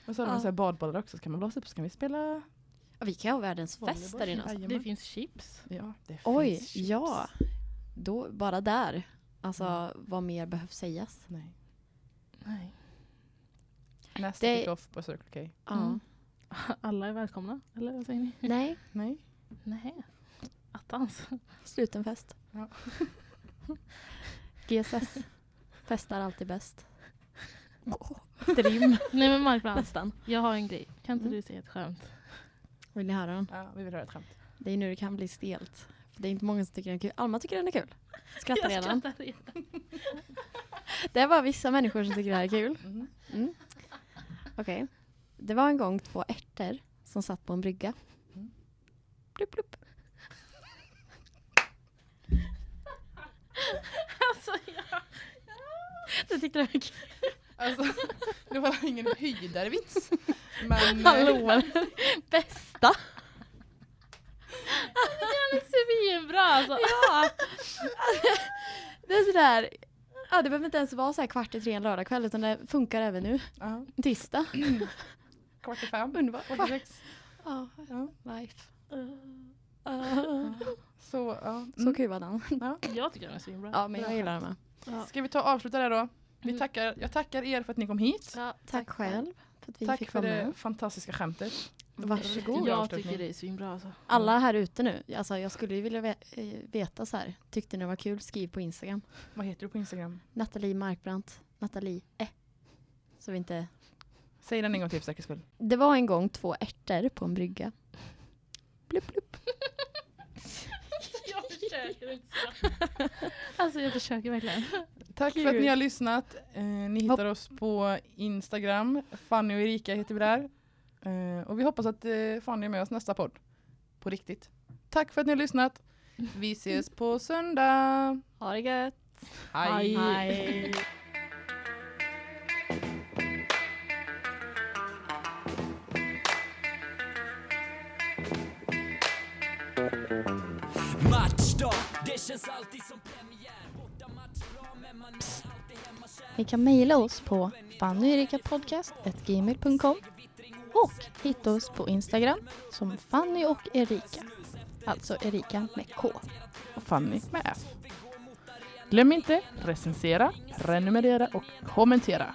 Speaker 2: Och så har
Speaker 3: Ja.
Speaker 2: de så här badbollar också, så kan man blåsa upp så kan vi spela.
Speaker 3: Ja, vi kan ha världens
Speaker 2: Volleyboll.
Speaker 3: fest där inne. Alltså.
Speaker 1: det
Speaker 2: Jajamän.
Speaker 1: finns chips.
Speaker 2: Ja, det
Speaker 3: Oj,
Speaker 2: finns chips.
Speaker 3: ja. Då, bara där. Alltså, vad mer behövs sägas?
Speaker 2: Nej.
Speaker 1: Nej.
Speaker 2: Nästa
Speaker 3: Det-
Speaker 2: kick-off på Circle K.
Speaker 3: Ja.
Speaker 1: Mm. Alla är välkomna, eller vad säger ni?
Speaker 3: Nej,
Speaker 2: Nej.
Speaker 1: Nej. Attans.
Speaker 3: sluten fest.
Speaker 2: Ja.
Speaker 3: GSS. Festar alltid bäst. Trim,
Speaker 1: Nej men Markbrand,
Speaker 3: nästan.
Speaker 1: jag har en grej. Kan inte
Speaker 3: Mm.
Speaker 1: du säga ett skämt?
Speaker 3: Vill ni höra den?
Speaker 2: Ja, vi vill höra ett skämt.
Speaker 3: Det är nu det kan bli stelt. För det är inte många som tycker den är kul. Alma tycker den är kul. Skrattar
Speaker 1: Jag
Speaker 3: redan.
Speaker 1: skrattar redan.
Speaker 3: Det är bara vissa människor som tycker det här är kul.
Speaker 2: Mhm.
Speaker 3: Mm. Okej. Det var en gång två ärtor som satt på en brygga.
Speaker 2: Mm.
Speaker 3: Blup, blup.
Speaker 1: Alltså, jag...
Speaker 3: Du tyckte det var kul.
Speaker 2: Alltså, det var ingen höjdarvits. Men, eh,
Speaker 3: Hallå. Bästa.
Speaker 1: Den är svinbra alltså.
Speaker 3: Ja. Det är sådär. Ja, det behöver inte ens vara så här kvart i tre en lördagkväll utan det funkar även nu.
Speaker 2: Ja,
Speaker 3: En Tisdag.
Speaker 2: kvart i fem.
Speaker 3: Underbart.
Speaker 2: Kvart i sex.
Speaker 3: Ja,
Speaker 2: Ja.
Speaker 3: life.
Speaker 2: Så, ja.
Speaker 3: Så kul var den.
Speaker 2: Ja.
Speaker 1: Jag tycker den är svinbra.
Speaker 3: Mm. Ja, men jag gillar den med.
Speaker 1: Ja.
Speaker 2: Ska vi ta och avsluta där då? Vi
Speaker 1: Mm.
Speaker 2: tackar, jag tackar er för att ni kom hit.
Speaker 1: Ja,
Speaker 3: Tack själv för att vi
Speaker 2: Tack
Speaker 3: fick
Speaker 2: för
Speaker 3: vara
Speaker 2: det
Speaker 3: med.
Speaker 2: fantastiska skämtet.
Speaker 3: Varsågod.
Speaker 2: God
Speaker 1: jag
Speaker 2: avslutning.
Speaker 1: tycker det är svinbra alltså.
Speaker 3: Alla här ute nu, alltså jag skulle ju vilja ve- eh, veta så här. Tyckte ni det var kul? Skriv på Instagram.
Speaker 2: Vad heter du på Instagram?
Speaker 3: Nathalie Markbrandt. Nathalie eh. Så vi inte...
Speaker 2: Säg den en gång till för säkerhets skull.
Speaker 3: Det var en gång två ärtor på en brygga. Blup, blup.
Speaker 1: Jag försöker inte Alltså jag försöker verkligen.
Speaker 2: Tack för att ni har lyssnat. Eh, ni hittar oss på Instagram. Fanny och Erika heter vi där. Eh, och vi hoppas att eh, Fanny är med oss nästa podd. På riktigt. Tack för att ni har lyssnat. Vi ses på söndag.
Speaker 3: Ha det gött.
Speaker 1: Hej.
Speaker 3: Hej.
Speaker 5: Matchdag, det känns alltid som premiär Bortamatch bra men man är alltid hemma kär
Speaker 6: Ni kan mejla oss på fannyerikapodcast.gmail.com och hitta oss på Instagram som Fanny och Erika. Alltså Erika med K.
Speaker 2: Och Fanny med F. Glöm inte recensera, prenumerera och kommentera.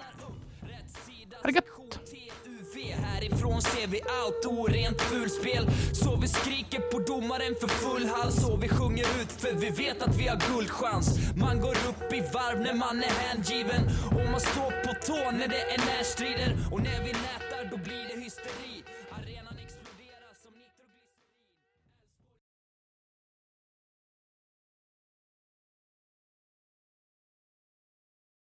Speaker 2: Ha det gött!
Speaker 5: TUV Härifrån ser vi allt orent fulspel Så vi skriker på domaren för full hals Och vi sjunger ut för vi vet att vi har guldchans Man går upp i varv när man är hängiven Och man står på tå när det är närstrider Och när vi nätar då blir det hysteri